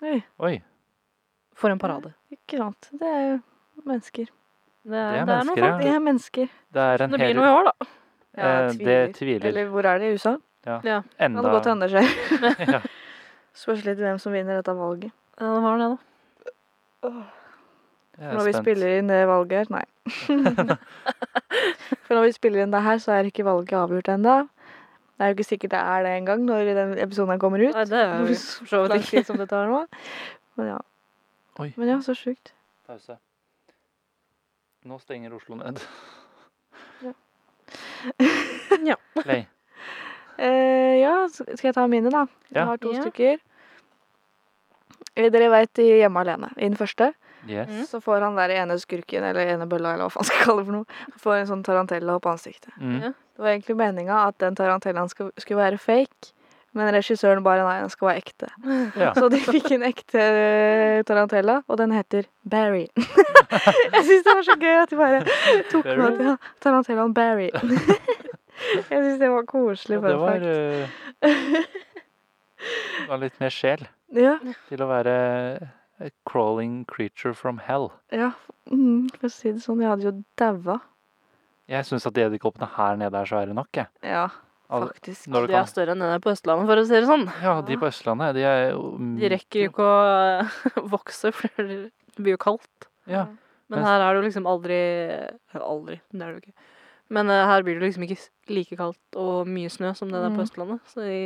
Speaker 2: Oi,
Speaker 1: Oi.
Speaker 3: for en parade.
Speaker 2: ikke sant. Det er jo mennesker.
Speaker 3: Det er,
Speaker 1: er
Speaker 3: det er noe
Speaker 1: mennesker, ja.
Speaker 3: folk.
Speaker 2: Det er mennesker.
Speaker 1: Det er en
Speaker 3: Det blir
Speaker 1: hel
Speaker 3: noe i år, da.
Speaker 1: eh, Det tviler.
Speaker 2: Eller hvor er det i USA? Kan det godt
Speaker 1: Enda
Speaker 2: hende det skjer.
Speaker 1: Mm, ja.
Speaker 2: Spørs litt hvem som vinner dette valget.
Speaker 3: Ja, det var det, da.
Speaker 1: Jeg er
Speaker 2: Når vi
Speaker 1: spent.
Speaker 2: spiller inn det valget her Nei. For når vi spiller inn det her, så er ikke valget avgjort ennå. Det er jo ikke sikkert det er det engang når den episoden her kommer ut.
Speaker 3: Nei, det er
Speaker 2: Hvor
Speaker 3: jo for så
Speaker 2: lang
Speaker 3: vidt
Speaker 2: tid
Speaker 3: ikke.
Speaker 2: som det tar nå. Men ja,
Speaker 1: Oi.
Speaker 2: Men ja så sjukt.
Speaker 1: Pause. Nå stenger Oslo ned.
Speaker 2: Ja.
Speaker 3: Ja.
Speaker 1: Play.
Speaker 2: Eh, ja, s- skal jeg ta mine, da?
Speaker 1: Ja.
Speaker 2: Jeg har to
Speaker 3: Ja.
Speaker 2: stykker. Eh, Dere veit i Hjemme alene. I den første
Speaker 1: Yes.
Speaker 3: Mm.
Speaker 2: så får han der ene skurken, eller ene bølla, eller hva faen skal jeg kalle det for noe, han får en sånn tarantella opp i ansiktet.
Speaker 1: Mm.
Speaker 3: Ja.
Speaker 2: Det var egentlig meninga at den tarantellaen skulle, skulle være fake, men regissøren bare nei, den skal være ekte.
Speaker 1: Ja.
Speaker 2: Så de fikk en ekte eh, tarantella, og den heter Barry. jeg syns det var så gøy at de bare tok
Speaker 1: Barry?
Speaker 2: med at ja, tarantellaen Barry. jeg syns det var
Speaker 1: Ja,
Speaker 2: koselig.
Speaker 1: det
Speaker 2: fun
Speaker 1: var,
Speaker 2: fact.
Speaker 1: eh, det var litt mer sjel
Speaker 2: Ja,
Speaker 1: til å være a crawling creature from hell.
Speaker 2: ja. Mm, for å si det sånn, jeg hadde jo daua.
Speaker 1: Jeg syns at de edderkoppene her nede er svære nok. Jeg.
Speaker 2: Ja,
Speaker 1: Al-
Speaker 2: faktisk.
Speaker 1: Når du
Speaker 3: De er
Speaker 1: kan.
Speaker 3: større enn den der på Østlandet, for å si det sånn.
Speaker 1: Ja, de på Østlandet, de er jo
Speaker 3: De rekker jo ikke å vokse, for det blir jo kaldt.
Speaker 1: Ja.
Speaker 3: Men
Speaker 1: Men-
Speaker 3: her er det jo liksom aldri Aldri, det er det jo ikke. Men eh, her blir det liksom ikke s- like kaldt og mye snø som det der
Speaker 2: Mm.
Speaker 3: på Østlandet. Så de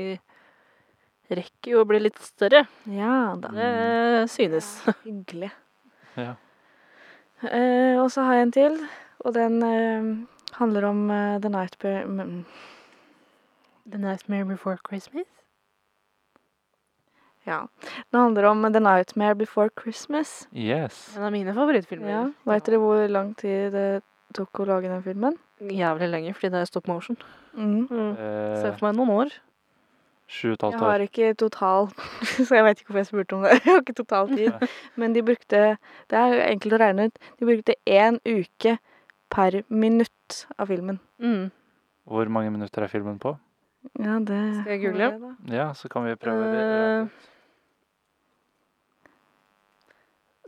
Speaker 3: rekker jo å bli litt større.
Speaker 2: Ja da.
Speaker 3: Det synes.
Speaker 2: Hyggelig.
Speaker 1: Ja.
Speaker 2: Eh, og så har jeg en til, og den eh, handler om eh, The Nightmare mm,
Speaker 3: The Nightmare Before Christmas?
Speaker 2: Ja. Den handler om The Nightmare Before Christmas.
Speaker 1: Yes.
Speaker 3: En av mine favorittfilmer.
Speaker 2: Ja. Veit dere hvor lang tid det tok å lage den filmen?
Speaker 3: Jævlig lenge, fordi det er stop motion.
Speaker 2: Mm.
Speaker 3: Se
Speaker 1: Eh,
Speaker 3: for meg noen år.
Speaker 1: Sju og et
Speaker 2: Jeg
Speaker 1: halvt
Speaker 2: har
Speaker 1: år.
Speaker 2: ikke total Så jeg veit ikke hvorfor jeg spurte om det. Jeg har ikke total tid. Men de brukte Det er jo enkelt å regne ut. De brukte én uke per minutt av filmen.
Speaker 3: Mm.
Speaker 1: Hvor mange minutter er filmen på?
Speaker 2: Ja, det
Speaker 3: Skal jeg google?
Speaker 2: det, da?
Speaker 1: Ja, så kan vi prøve
Speaker 3: Eh,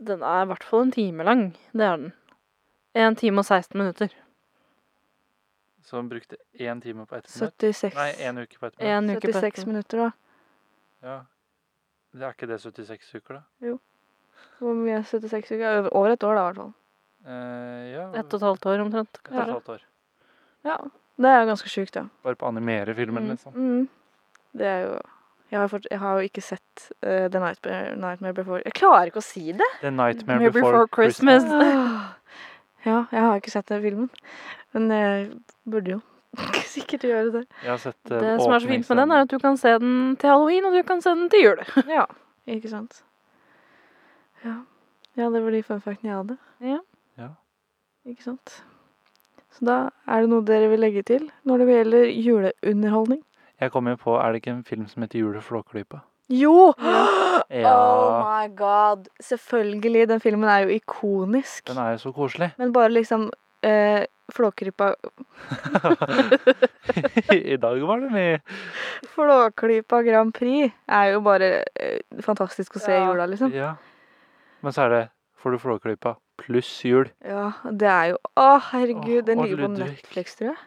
Speaker 3: Den er i hvert fall en time lang. Det er den. En time og 16 minutter.
Speaker 1: Så han brukte én time på ett minutt?
Speaker 2: 76,
Speaker 1: Nei, én uke på ett minutt.
Speaker 3: En uke på
Speaker 2: 76
Speaker 3: etter.
Speaker 2: minutter, da.
Speaker 1: Ja. Det er ikke det 76 uker, da?
Speaker 2: Hvor mye er 76 uker? Over- Over et år, da, i hvert fall.
Speaker 1: Eh, ja.
Speaker 3: Ett og et halvt år omtrent.
Speaker 1: et og et
Speaker 3: kanskje.
Speaker 1: halvt år.
Speaker 2: Ja. Det er jo ganske sjukt, da.
Speaker 1: Bare på å animere filmen,
Speaker 3: Mm.
Speaker 1: liksom.
Speaker 2: Mm. Det er jo jeg har, fort, jeg har jo ikke sett eh, The Nightmare, Nightmare Before Jeg klarer ikke å si det!
Speaker 1: The Nightmare
Speaker 3: Maybe
Speaker 1: Before,
Speaker 3: Before
Speaker 1: Christmas.
Speaker 3: Christmas.
Speaker 2: Ja, jeg har ikke sett den filmen. Men jeg burde jo sikkert gjøre det.
Speaker 1: Jeg har sett eh,
Speaker 3: Det som er så fint med den,
Speaker 1: åpningsscenen.
Speaker 3: er at du kan se den til halloween, og du kan se den til jul.
Speaker 2: Ja, ikke sant. Ja, ja det var de fun factene jeg hadde.
Speaker 3: Ja.
Speaker 1: Ja.
Speaker 2: Ikke sant. Så da er det noe dere vil legge til når det gjelder juleunderholdning?
Speaker 1: Jeg kom jo på, er det ikke en film som heter Jule Flåklypa?
Speaker 2: Jo! Oh
Speaker 1: Ja,
Speaker 2: my god. Selvfølgelig. Den filmen er jo ikonisk.
Speaker 1: den er jo så koselig.
Speaker 2: Men bare liksom eh, Flåkrypa
Speaker 1: I dag var det mye.
Speaker 3: Liksom.
Speaker 2: Flåklypa Grand Prix er jo bare eh, fantastisk å se i
Speaker 3: Ja.
Speaker 2: jula, liksom.
Speaker 1: Ja. Men så er det Får du Flåklypa pluss jul.
Speaker 2: Ja, det er jo Å, herregud.
Speaker 1: Åh,
Speaker 2: Den
Speaker 1: og
Speaker 2: ligger på
Speaker 1: Ludvig.
Speaker 2: Netflix, tror jeg.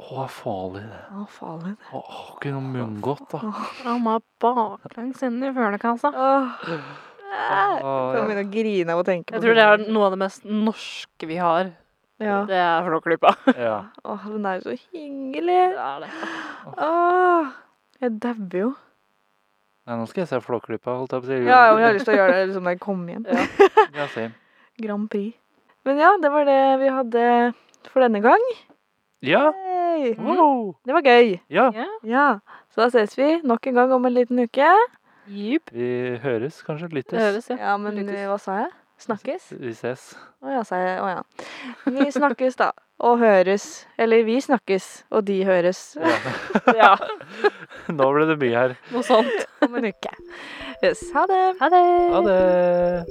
Speaker 1: Å, farlig det.
Speaker 2: Å, faen.
Speaker 1: Å, kunne munngått, da.
Speaker 3: Han var baklengs inn i følekassa.
Speaker 2: Åh.
Speaker 1: Å,
Speaker 2: Jeg kan begynne å grine av å tenke på
Speaker 3: Jeg tror det er noe av det mest norske vi har.
Speaker 2: ja.
Speaker 3: Det er Flåklypa.
Speaker 1: ja.
Speaker 2: Åh, den er jo så hyggelig.
Speaker 3: Det er det.
Speaker 2: Åh. Jeg dauer jo.
Speaker 1: Nei, nå skal jeg se Flåklypa, holdt jeg på å si.
Speaker 2: Ja, ja, men jeg har lyst til å gjøre det liksom når jeg kommer hjem.
Speaker 1: Ja, same.
Speaker 2: Grand Prix. Men ja, det var det vi hadde for denne gang.
Speaker 1: ja.
Speaker 2: Hey.
Speaker 1: Wow.
Speaker 2: Det var gøy.
Speaker 1: ja.
Speaker 2: Ja. Så da ses vi nok en gang om en liten uke.
Speaker 3: Jepp.
Speaker 1: Vi høres, kanskje.
Speaker 3: Det
Speaker 1: Lyttes.
Speaker 3: høres, ja.
Speaker 2: Ja, men
Speaker 3: Lyttes.
Speaker 2: eh, hva sa jeg? Snakkes?
Speaker 1: Vi ses.
Speaker 2: Å ja, sa jeg. Å ja. Vi snakkes, da. Og høres. Eller vi snakkes, og de høres.
Speaker 1: Ja.
Speaker 3: ja.
Speaker 1: Nå ble det mye her.
Speaker 3: Noe sånt.
Speaker 2: Om en uke. Yes. Ha det.
Speaker 3: Ha det.
Speaker 1: Ha det.